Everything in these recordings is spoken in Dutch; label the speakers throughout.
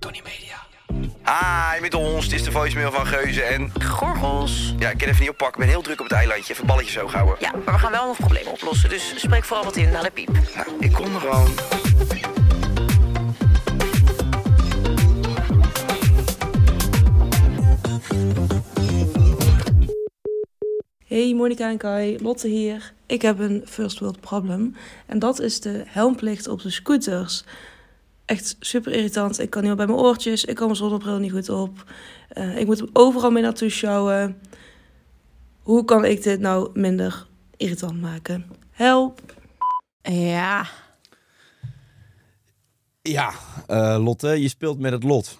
Speaker 1: Tony Media.
Speaker 2: Hi, met ons. Dit is de voicemail van Geuze en... Gorgels. Ja, ik kan even niet oppakken. Ik ben heel druk op het eilandje. Even balletjes hoog houden.
Speaker 3: Ja, maar we gaan wel nog problemen oplossen. Dus spreek vooral wat in naar de piep.
Speaker 2: Nou, ik kom er al.
Speaker 4: Hey Monika en Kai, Lotte hier. Ik heb een first world problem. En dat is de helmplicht op de scooters. Echt super irritant. Ik kan niet meer bij mijn oortjes. Ik kan mijn zonnebril niet goed op. Eh, ik moet overal mee naartoe sjouwen. Hoe kan ik dit nou minder irritant maken? Help!
Speaker 5: Ja,
Speaker 1: Ja, eh, Lotte, je speelt met het lot.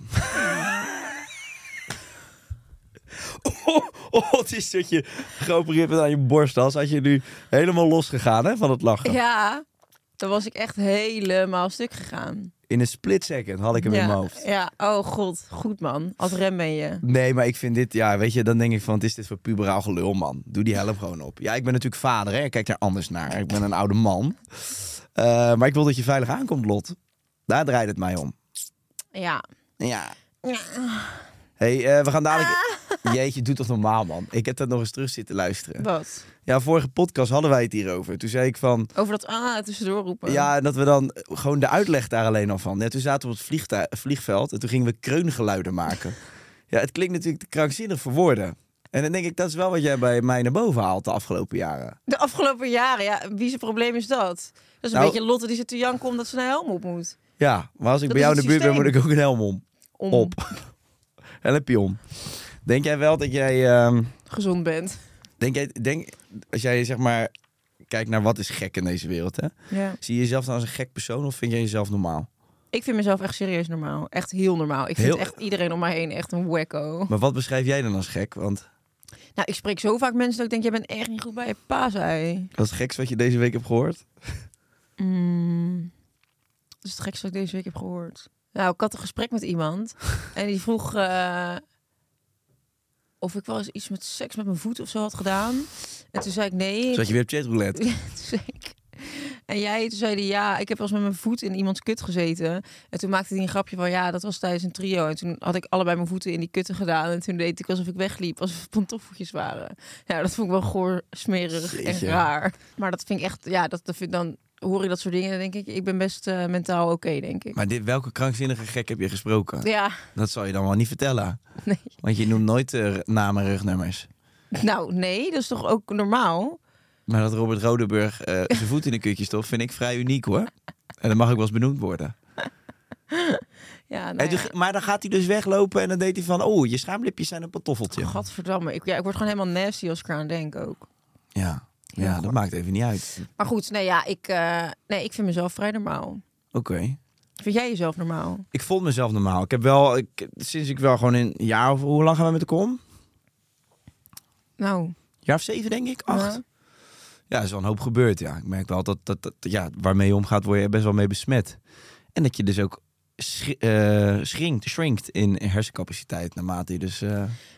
Speaker 1: oh, oh, het is dat je geopereerd bent aan je borst. Als had je nu helemaal losgegaan hè, van het lachen.
Speaker 5: ja. Dan was ik echt helemaal stuk gegaan.
Speaker 1: In een split second had ik hem in
Speaker 5: ja.
Speaker 1: mijn hoofd.
Speaker 5: ja, oh god. Goed man. Als rem ben je.
Speaker 1: Nee, maar ik vind dit, ja, weet je, dan denk ik van, wat is dit voor puberaal gelul, man? Doe die helm gewoon op. Ja, ik ben natuurlijk vader, hè. Ik kijk daar anders naar. Ik ben een oude man. Eh, maar ik wil dat je veilig aankomt, Lot. Daar draait het mij om.
Speaker 5: Ja.
Speaker 1: Ja. hey, eh, we gaan dadelijk... Jeetje, doe toch normaal, man. Ik heb dat nog eens terug zitten luisteren.
Speaker 5: Ah. Wat?
Speaker 1: Ja, vorige podcast hadden wij het hierover. Toen zei ik van...
Speaker 5: Over dat ah tussendoor roepen.
Speaker 1: Ja, en dat we dan eh, gewoon de uitleg daar alleen al van. Ja, toen zaten we op het vliegtu- vliegveld en toen gingen we kreungeluiden maken. Ja, het klinkt natuurlijk te krankzinnig voor woorden. En dan denk ik, dat is wel wat jij bij mij naar boven haalt de afgelopen jaren.
Speaker 5: De afgelopen jaren, ja. Wie zijn probleem is dat? Dat is een
Speaker 1: Nou-
Speaker 5: beetje Lotte die zit te janken omdat ze een helm op moet.
Speaker 1: Ja, maar als ik
Speaker 5: Dat
Speaker 1: bij jou
Speaker 5: is
Speaker 1: in de
Speaker 5: het
Speaker 1: buurt ben, moet
Speaker 5: systeem.
Speaker 1: ik ook een helm om.
Speaker 5: Om
Speaker 1: Op. en een pion. Denk jij wel dat jij... ehm,
Speaker 5: gezond bent.
Speaker 1: denk jij denk, als jij zeg maar kijkt naar wat is gek in deze wereld, hè?
Speaker 5: Ja.
Speaker 1: Zie je jezelf dan als een gek persoon of vind jij jezelf normaal?
Speaker 5: Ik vind mezelf echt serieus normaal. Echt heel normaal. Ik vind
Speaker 1: Heel-
Speaker 5: echt iedereen om mij heen echt een wacko.
Speaker 1: Maar wat beschrijf jij dan als gek? Want
Speaker 5: Nou, ik spreek zo vaak mensen dat ik denk, jij bent echt niet goed bij je paasei.
Speaker 1: dat is het gekste wat je deze week hebt gehoord.
Speaker 5: Mm. Dat is het gekste wat ik deze week heb gehoord. Nou, ik had een gesprek met iemand en die vroeg eh, of ik wel eens iets met seks met mijn voet of zo had gedaan. En toen zei ik nee.
Speaker 1: Zodat je weer op chatroulette.
Speaker 5: Toen zei ik- En jij, toen zei hij ja, ik heb wel eens met mijn voet in iemands kut gezeten. En toen maakte hij een grapje van ja, dat was tijdens een trio. En toen had ik allebei mijn voeten in die kutten gedaan. En toen deed ik alsof ik wegliep, alsof het pantoffeltjes waren. Nou, dat vond ik wel goor, smerig
Speaker 1: Jeetje.
Speaker 5: en raar. Maar dat vind ik echt, ja, dat, dat vind, dan hoor ik dat soort dingen. Dan denk ik, ik ben best eh, mentaal oké, denk ik.
Speaker 1: Maar dit, welke krankzinnige gek heb je gesproken?
Speaker 5: Ja,
Speaker 1: Dat zal je dan wel niet vertellen.
Speaker 5: Nee.
Speaker 1: Want je noemt nooit eh, namen en rugnummers.
Speaker 5: nou nee, dat is toch ook normaal?
Speaker 1: Maar dat Robert Rodenburg eh, zijn voet in de kutje stopt, vind ik vrij uniek hoor. En dat mag ook wel eens benoemd worden.
Speaker 5: Ja, nou
Speaker 1: En toen
Speaker 5: ja.
Speaker 1: g- maar dan gaat hij dus weglopen en dan deed hij van... Oh, je schaamlipjes zijn een pantoffeltje.
Speaker 5: Gadverdamme, ik, ja, ik word gewoon helemaal nasty als ik eraan denk ook.
Speaker 1: Ja,
Speaker 5: Heel
Speaker 1: ja
Speaker 5: goed.
Speaker 1: dat maakt even niet uit.
Speaker 5: Maar goed, nee, ja, ik, eh, nee, ik vind mezelf vrij normaal.
Speaker 1: Oké.
Speaker 5: Vind jij jezelf normaal?
Speaker 1: Ik vond mezelf normaal. Ik heb wel... Ik, sinds ik wel gewoon een jaar of... Hoe lang gaan we met de kom?
Speaker 5: Nou,
Speaker 1: jaar of zeven, denk ik. Acht.
Speaker 5: Ja.
Speaker 1: Ja, er is wel een hoop gebeurd. Ja. Ik merk wel dat, dat, dat ja, waarmee je omgaat, word je best wel mee besmet. En dat je dus ook schri- eh, schrinkt, shrinkt in hersencapaciteit naarmate je dus... eh,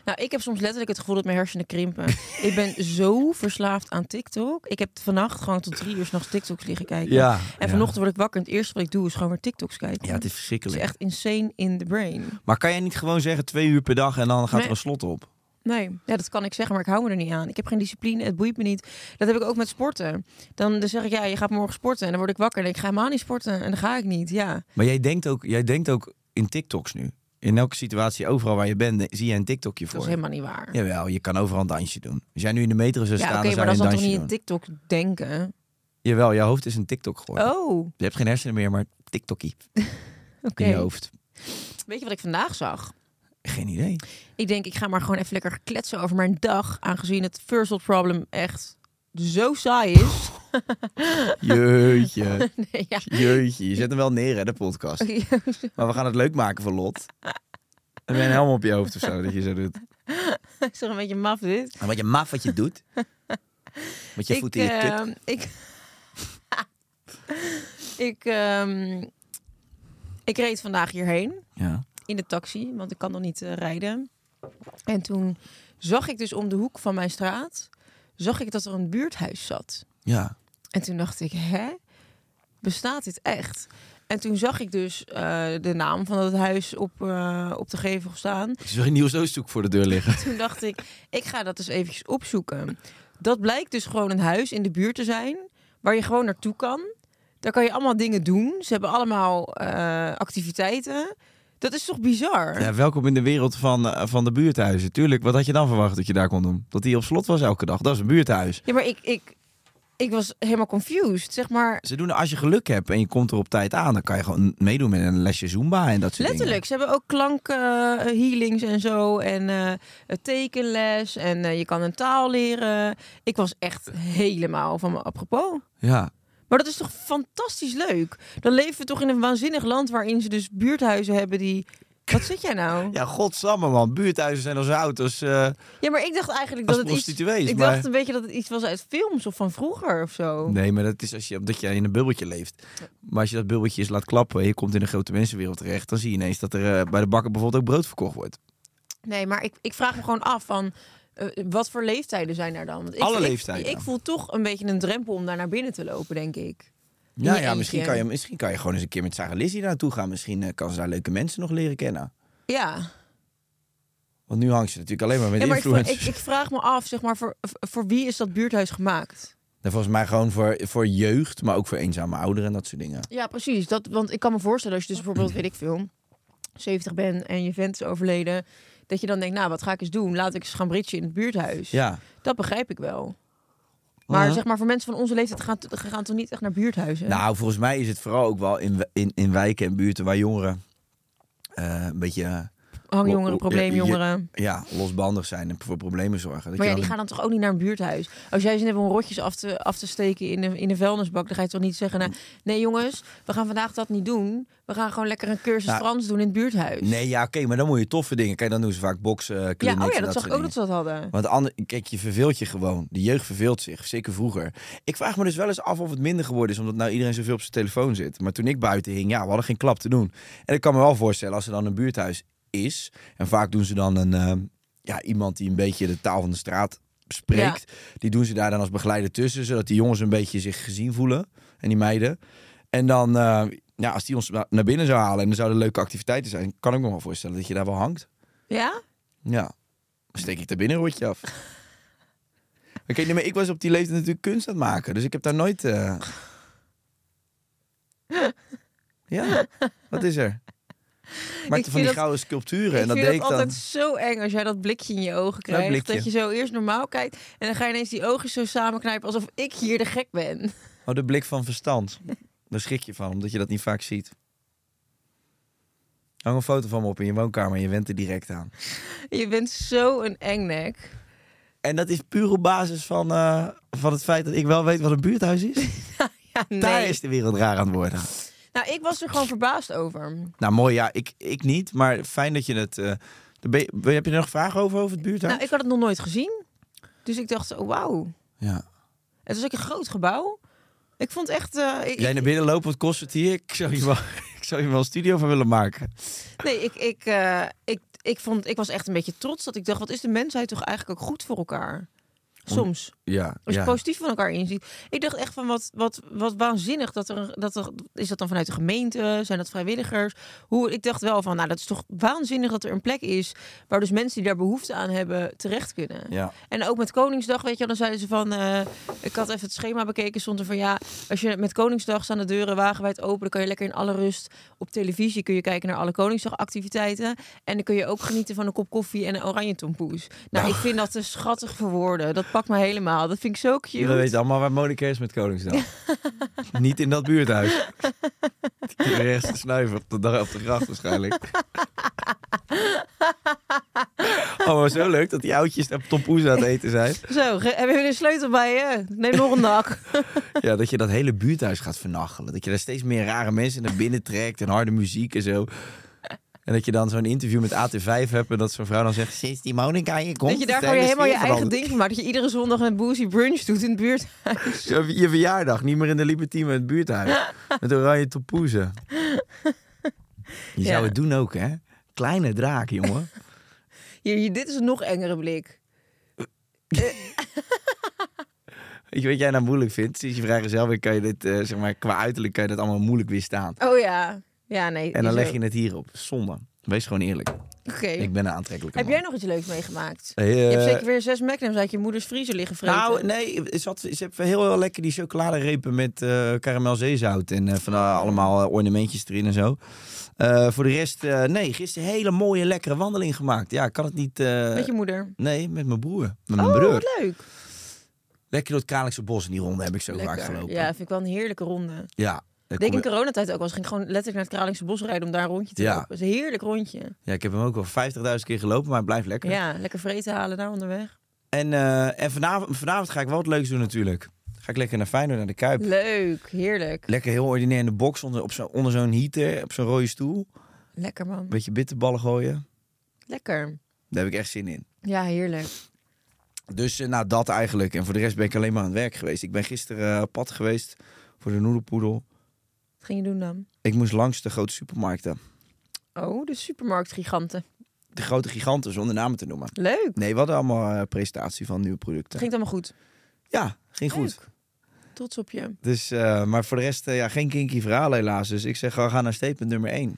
Speaker 5: nou, ik heb soms letterlijk het gevoel dat mijn hersenen krimpen. ik ben zo verslaafd aan TikTok. Ik heb vannacht gewoon tot drie uur 's nachts TikToks liggen kijken.
Speaker 1: ja.
Speaker 5: En vanochtend word ik wakker en het eerste wat ik doe is gewoon weer TikToks kijken.
Speaker 1: Ja, het is
Speaker 5: Het is
Speaker 1: verschrikkelijk.
Speaker 5: echt insane in the brain.
Speaker 1: Maar kan jij niet gewoon zeggen twee uur per dag en dan gaat
Speaker 5: Nee.
Speaker 1: er een slot op?
Speaker 5: Nee, ja, dat kan ik zeggen, maar ik hou me er niet aan. Ik heb geen discipline, het boeit me niet. Dat heb ik ook met sporten. Dan, dan zeg ik, ja, je gaat morgen sporten. En dan word ik wakker en ik ga helemaal niet sporten. En dan ga ik niet, ja.
Speaker 1: Maar jij denkt, ook, jij denkt ook in TikToks nu. In elke situatie, overal waar je bent, eh, zie je een TikTokje
Speaker 5: Dat is
Speaker 1: voor.
Speaker 5: helemaal niet waar.
Speaker 1: Jawel, je kan overal een dansje doen. Als jij nu in de metro zou
Speaker 5: Ja,
Speaker 1: staan,
Speaker 5: oké,
Speaker 1: dan zou
Speaker 5: maar dat
Speaker 1: je
Speaker 5: zal
Speaker 1: een
Speaker 5: toch
Speaker 1: dansje
Speaker 5: niet in
Speaker 1: doen.
Speaker 5: TikTok denken?
Speaker 1: Jawel, jouw hoofd is een TikTok geworden.
Speaker 5: Oh,
Speaker 1: Je hebt geen hersenen meer, maar TikTokie
Speaker 5: oké.
Speaker 1: in je hoofd.
Speaker 5: Weet je wat ik vandaag zag?
Speaker 1: Geen idee.
Speaker 5: Ik denk, ik ga maar gewoon even lekker kletsen over mijn dag. Aangezien het first world problem echt zo saai is.
Speaker 1: Jeetje.
Speaker 5: nee, ja.
Speaker 1: Jeetje, je zet hem wel neer, hè, de podcast.
Speaker 5: Oh, Ja,
Speaker 1: Maar we gaan het leuk maken voor Lot. Heb jij een helm op je hoofd of zo, dat je zo doet?
Speaker 5: het is toch een beetje maf dit.
Speaker 1: En wat je maf wat je doet. Met je
Speaker 5: ik,
Speaker 1: voeten in je kut.
Speaker 5: ehm, ik, ik, ehm, ik reed vandaag hierheen
Speaker 1: Ja.
Speaker 5: in de taxi, want ik kan nog niet eh, rijden. En toen zag ik dus om de hoek van mijn straat, zag ik dat er een buurthuis zat.
Speaker 1: Ja.
Speaker 5: En toen dacht ik, hè? Bestaat dit echt? En toen zag ik dus eh, de naam van dat huis op, eh, op de gevel staan.
Speaker 1: Ik zie een nieuw zootzoek voor de deur liggen.
Speaker 5: Toen dacht ik, ik ga dat eens eventjes opzoeken. Dat blijkt dus gewoon een huis in de buurt te zijn, waar je gewoon naartoe kan. Daar kan je allemaal dingen doen. Ze hebben allemaal eh, activiteiten. Dat is toch bizar?
Speaker 1: Ja, welkom in de wereld van, eh, van de buurthuizen. Tuurlijk, wat had je dan verwacht dat je daar kon doen? Dat die op slot was elke dag. Dat is een buurthuis.
Speaker 5: Ja, maar ik, ik, ik was helemaal confused. Zeg maar,
Speaker 1: Ze doen, als je geluk hebt en je komt er op tijd aan, dan kan je gewoon meedoen met een lesje Zumba en dat soort
Speaker 5: Letterlijk, ze hebben ook klank eh, healings en zo. En eh, een tekenles. En eh, je kan een taal leren. Ik was echt helemaal van me apropos.
Speaker 1: dingen. Ja.
Speaker 5: Maar dat is toch fantastisch leuk? Dan leven we toch in een waanzinnig land waarin ze dus buurthuizen hebben die. Wat zit jij nou? Ja,
Speaker 1: Ja, godsamme man. Buurthuizen zijn al zo oud als... eh,
Speaker 5: maar ik dacht eigenlijk
Speaker 1: Als
Speaker 5: dat het iets.
Speaker 1: prostituees,
Speaker 5: Ik
Speaker 1: maar-
Speaker 5: dacht een beetje dat het iets was uit films of van vroeger of zo.
Speaker 1: Nee, maar dat is als je, omdat je in een bubbeltje leeft. Maar als je dat bubbeltje eens laat klappen en je komt in een grote mensenwereld terecht, dan zie je ineens dat er eh, bij de bakker bijvoorbeeld ook brood verkocht wordt.
Speaker 5: Nee, maar ik, ik vraag me gewoon af van eh, wat voor leeftijden zijn daar dan? Want ik,
Speaker 1: Alle
Speaker 5: ik-
Speaker 1: leeftijden.
Speaker 5: ik voel toch een beetje een drempel om daar naar binnen te lopen, denk ik. je
Speaker 1: Ja, ja
Speaker 5: eentje.
Speaker 1: misschien, kan je, misschien kan je gewoon eens een keer met Sarah Lizzie naartoe gaan. Misschien eh, kan ze daar leuke mensen nog leren kennen.
Speaker 5: Ja.
Speaker 1: Want nu hangt ze natuurlijk alleen maar met
Speaker 5: Ja, maar ik, vra-
Speaker 1: influencers.
Speaker 5: ik, ik vraag me af, zeg maar, voor, voor wie is dat buurthuis gemaakt?
Speaker 1: En Nou, Volgens mij gewoon voor, voor jeugd, maar ook voor eenzame ouderen en dat soort dingen.
Speaker 5: Ja, precies. Dat, want ik kan me voorstellen als je dus bijvoorbeeld, weet ik veel, 70 bent en je vent is overleden, dat je dan denkt, nou, wat ga ik eens doen? Laat ik eens gaan britje in het buurthuis.
Speaker 1: Ja,
Speaker 5: Dat begrijp ik wel. Maar
Speaker 1: Ja.
Speaker 5: zeg maar, voor mensen van onze leeftijd gaan, gaan toch niet echt naar buurthuizen?
Speaker 1: nou volgens mij is het vooral ook wel in, in, in wijken en buurten waar jongeren eh, een beetje eh,
Speaker 5: Hangjongeren,
Speaker 1: Ja, ja,
Speaker 5: probleemjongeren.
Speaker 1: ja, losbandig zijn en voor problemen zorgen. Dat
Speaker 5: Maar
Speaker 1: je
Speaker 5: ja,
Speaker 1: dan
Speaker 5: die gaan dan toch ook niet naar een buurthuis? Als jij zin hebt om rotjes af te, af te steken in de, in de vuilnisbak, dan ga je toch niet zeggen... Nou, nee jongens, we gaan vandaag dat niet doen. We gaan gewoon lekker een cursus
Speaker 1: Nou,
Speaker 5: Frans doen in het buurthuis.
Speaker 1: Nee, ja, oké, maar dan moet je toffe dingen. Kijk, dan doen ze vaak boksen, clinics
Speaker 5: ja,
Speaker 1: en
Speaker 5: oh ja, dat
Speaker 1: soort
Speaker 5: zag ik ook
Speaker 1: dingen.
Speaker 5: dat ze dat hadden.
Speaker 1: Want ander, kijk, je verveelt je gewoon. De jeugd verveelt zich, zeker vroeger. Ik vraag me dus wel eens af of het minder geworden is, omdat nou iedereen zoveel op zijn telefoon zit. Maar toen ik buiten hing, ja, we hadden geen klap te doen. En ik kan me wel voorstellen, als er dan een buurthuis is, en vaak doen ze dan een, eh, ja, iemand die een beetje de taal van de straat spreekt, die doen ze daar dan als begeleider tussen, zodat die jongens een beetje zich gezien voelen en die meiden. En dan, eh, ja, als die ons na- naar binnen zou halen en er zouden leuke activiteiten zijn, kan ik me wel voorstellen dat je daar wel hangt.
Speaker 5: Ja?
Speaker 1: Ja. Dan steek ik daar binnen een rotje af. Oké, nee, maar ik was op die leeftijd natuurlijk kunst aan het maken. Dus ik heb daar nooit... eh, Ja, wat is er? Ik maakte van
Speaker 5: vind
Speaker 1: die
Speaker 5: dat-
Speaker 1: gouden sculpturen en
Speaker 5: ik
Speaker 1: dat
Speaker 5: vind
Speaker 1: deed
Speaker 5: het
Speaker 1: ik dan. Nou,
Speaker 5: altijd zo eng als jij dat blikje in je ogen krijgt.
Speaker 1: blikje.
Speaker 5: Dat je zo eerst normaal kijkt en dan ga je ineens die ogen zo samenknijpen alsof ik hier de gek ben.
Speaker 1: Oh, de blik van verstand. Daar schrik je van, omdat je dat niet vaak ziet. Hang een foto van me op in je woonkamer en je went er direct aan.
Speaker 5: Je bent zo een engnek.
Speaker 1: En dat is puur op basis van, eh, van het feit dat ik wel weet wat een buurthuis is.
Speaker 5: Ja, nee.
Speaker 1: Daar is de wereld raar aan het worden.
Speaker 5: Nou, ik was er gewoon verbaasd over.
Speaker 1: Nou, mooi. Ja, ik, ik niet. Maar fijn dat je het... eh, de be- be- heb je er nog vragen over, over het buurthuis?
Speaker 5: Nou, ik had het nog nooit gezien. Dus ik dacht, oh, wauw.
Speaker 1: Ja.
Speaker 5: Het was ook een groot gebouw. Ik vond echt... eh, ik,
Speaker 1: Jij naar binnen lopen, wat kost het hier? Ik zou je wel, ik zou je wel een studio van willen maken.
Speaker 5: nee, ik, ik, eh, ik, ik, vond, ik was echt een beetje trots dat ik dacht... wat is de mensheid toch eigenlijk ook goed voor elkaar? Soms.
Speaker 6: Ja,
Speaker 5: Als je
Speaker 6: ja.
Speaker 5: positief van elkaar inziet. Ik dacht echt van wat, wat, wat waanzinnig dat er, dat er. Is dat dan vanuit de gemeente? Zijn dat vrijwilligers? Hoe, ik dacht wel van, nou, dat is toch waanzinnig dat er een plek is waar dus mensen die daar behoefte aan hebben terecht kunnen.
Speaker 1: Ja.
Speaker 5: En ook met Koningsdag, weet je, wel, dan zeiden ze van. eh, ik had even het schema bekeken, stond er van ja. Als je met Koningsdag staan de deuren wagenwijd open, dan kan je lekker in alle rust op televisie kun je kijken naar alle Koningsdagactiviteiten. En dan kun je ook genieten van een kop koffie en een oranje tompoes. Nou, ik vind dat te schattig voor woorden. Dat pakt me helemaal. Dat vind ik zo cute.
Speaker 1: We weten allemaal waar Monika is met Koningsdag. Niet in dat buurthuis. Die rechts te snuiven op de, dag- op de gracht waarschijnlijk. Oh, maar zo leuk dat die oudjes op tompoes aan het eten zijn.
Speaker 5: Zo, ge- hebben jullie een sleutel bij je? Neem nog een dak.
Speaker 1: Ja, dat je dat hele buurthuis gaat vernachelen. Dat je daar steeds meer rare mensen naar binnen trekt en harde muziek en zo. En dat je dan zo'n interview met AT5 hebt en dat zo'n vrouw dan zegt... Sinds die Monika hier komt...
Speaker 5: dat je daar
Speaker 1: is de
Speaker 5: gewoon je
Speaker 1: hele
Speaker 5: helemaal je
Speaker 1: sfeer
Speaker 5: eigen
Speaker 1: veranderd."
Speaker 5: ding van maakt. Dat je iedere zondag een boozy brunch doet in het buurt.
Speaker 1: Je, je verjaardag, niet meer in de Libertine met het buurthuis. Met oranje topoezen. Je
Speaker 5: Ja.
Speaker 1: zou het doen ook, hè? Kleine draak, jongen.
Speaker 5: Hier, hier, dit is een nog engere blik.
Speaker 1: Weet je wat jij nou moeilijk vindt? Sinds je vrijgezel bent, kan je dit, eh, zeg maar, qua uiterlijk kan je dat allemaal moeilijk weerstaan.
Speaker 5: Oh ja. Ja, nee.
Speaker 1: En dan
Speaker 5: is
Speaker 1: leg
Speaker 5: ook-
Speaker 1: je het hierop. Zonde. Wees gewoon eerlijk.
Speaker 5: Oké.
Speaker 1: Ik ben een aantrekkelijke
Speaker 5: Heb
Speaker 1: man.
Speaker 5: jij nog iets leuks meegemaakt?
Speaker 1: Eh,
Speaker 5: je hebt zeker weer zes magnums uit je moeders vriezer liggen vreten.
Speaker 1: Nou, nee, ze, had, ze hebben heel, heel lekker die chocoladerepen met eh karamel zeezout en eh, van eh, allemaal eh, ornamentjes erin en zo. Eh, voor de rest, eh, nee, gisteren een hele mooie, lekkere wandeling gemaakt. Ja, ik kan het niet... eh,
Speaker 5: Met je moeder.
Speaker 1: Nee, met mijn broer. Met mijn
Speaker 5: oh,
Speaker 1: broer.
Speaker 5: wat leuk.
Speaker 1: Lekker door het Kralingse Bos in die ronde heb ik zo vaak
Speaker 5: Lekker.
Speaker 1: gelopen.
Speaker 5: Ja, vind ik wel een heerlijke ronde.
Speaker 1: Ja,
Speaker 5: Ik
Speaker 1: ik
Speaker 5: denk
Speaker 1: kom-
Speaker 5: in coronatijd ook wel. eens. Ging ik gewoon letterlijk naar het Kralingse Bos rijden om daar een rondje te
Speaker 1: Ja.
Speaker 5: lopen. Dat is een heerlijk rondje.
Speaker 1: ja, ik heb hem ook al 50.000 keer gelopen, maar het blijft lekker.
Speaker 5: Ja, lekker vreten halen daar onderweg.
Speaker 1: En, eh, en vanavond, vanavond ga ik wel wat leuks doen natuurlijk. Ga ik lekker naar Feyenoord, naar de Kuip.
Speaker 5: Leuk, heerlijk.
Speaker 1: Lekker heel ordinair in de box, onder, op zo'n- onder zo'n heater, op zo'n rode stoel.
Speaker 5: Lekker man.
Speaker 1: Beetje bitterballen gooien.
Speaker 5: Lekker.
Speaker 1: Daar heb ik echt zin in.
Speaker 5: Ja, heerlijk.
Speaker 1: Dus eh, nou, dat eigenlijk. En voor de rest ben ik alleen maar aan het werk geweest. Ik ben gisteren eh, op pad geweest voor de noedelpoedel.
Speaker 5: Wat ging je doen dan?
Speaker 1: Ik moest langs de grote supermarkten.
Speaker 5: Oh, de supermarktgiganten.
Speaker 1: De grote giganten, zonder namen te noemen.
Speaker 5: Leuk.
Speaker 1: Nee, we hadden allemaal eh, presentatie van nieuwe producten.
Speaker 5: Ging het allemaal goed?
Speaker 1: Ja, ging goed.
Speaker 5: Leuk. Trots op je.
Speaker 1: Dus, eh, maar voor de rest, eh, ja, geen kinky verhaal helaas. Dus ik zeg, gewoon, ga naar statement nummer 1.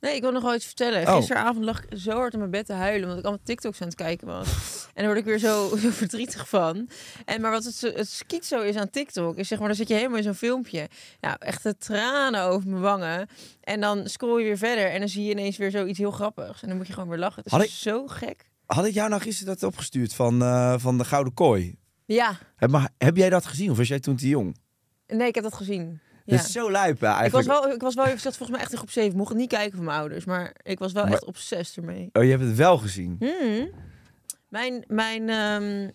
Speaker 5: Nee, ik wil nog wel iets vertellen.
Speaker 1: Oh.
Speaker 5: Gisteravond lag ik zo hard in mijn bed te huilen, omdat ik allemaal TikToks aan het kijken was. En daar word ik weer zo, zo verdrietig van. En maar wat het, zo- het schizo is aan TikTok, is zeg maar, dan zit je helemaal in zo'n filmpje. Nou, echt de tranen over mijn wangen. En dan scroll je weer verder en dan zie je ineens weer zoiets heel grappigs. En dan moet je gewoon weer lachen. Het is
Speaker 1: Had ik-
Speaker 5: zo gek.
Speaker 1: Had ik jou nou gisteren dat opgestuurd van, eh, van de Gouden Kooi?
Speaker 5: Ja,
Speaker 1: Heb, maar, heb jij dat gezien of was jij toen te jong?
Speaker 5: nee, ik heb dat gezien. Ja.
Speaker 1: Dat is zo lijp hè,
Speaker 5: ik,
Speaker 1: eigenlijk.
Speaker 5: was wel, ik was wel, ik zat volgens mij echt in groep 7. Ik mocht het niet kijken van mijn ouders, maar ik was wel
Speaker 1: Maar-
Speaker 5: echt obsessief ermee.
Speaker 1: Oh, je hebt het wel gezien.
Speaker 5: Hmm. Mijn, mijn, ehm,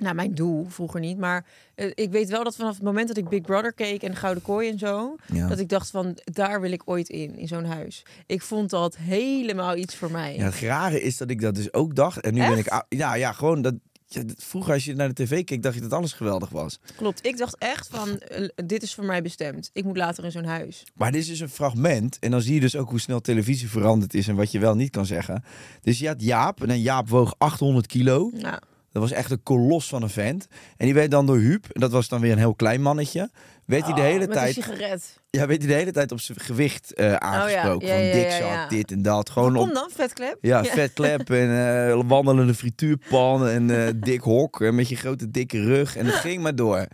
Speaker 5: nou, mijn doel vroeger niet, maar eh, ik weet wel dat vanaf het moment dat ik Big Brother keek en Gouden Kooi en zo,
Speaker 1: Ja.
Speaker 5: dat ik dacht van daar wil ik ooit in, in zo'n huis. Ik vond dat helemaal iets voor mij.
Speaker 1: Ja, het rare is dat ik dat dus ook dacht. En nu ben ik... ou- Ja, ja, gewoon dat... ja, dat- vroeger als je naar de tv keek, dacht je dat alles geweldig was.
Speaker 5: Klopt. Ik dacht echt van eh, dit is voor mij bestemd. Ik moet later in zo'n huis.
Speaker 1: Maar dit is dus een fragment. En dan zie je dus ook hoe snel televisie veranderd is en wat je wel niet kan zeggen. Dus je had Jaap. En dan Jaap woog 800 kilo.
Speaker 5: Nou,
Speaker 1: Dat was echt een kolos van een vent. En die werd dan door Huub, en dat was dan weer een heel klein mannetje, werd hij de hele
Speaker 5: Oh, met een
Speaker 1: tijd,
Speaker 5: sigaret. Oh
Speaker 1: ja, werd hij de hele tijd op zijn gewicht eh, aangesproken.
Speaker 5: ja, ja,
Speaker 1: van dik
Speaker 5: ja,
Speaker 1: zat,
Speaker 5: ja.
Speaker 1: dit en dat. Gewoon
Speaker 5: Kom
Speaker 1: op,
Speaker 5: dan, vetklep.
Speaker 1: ja, vet klep en eh, wandelende frituurpan en eh, dik hok en met je grote dikke rug. En het ging maar door.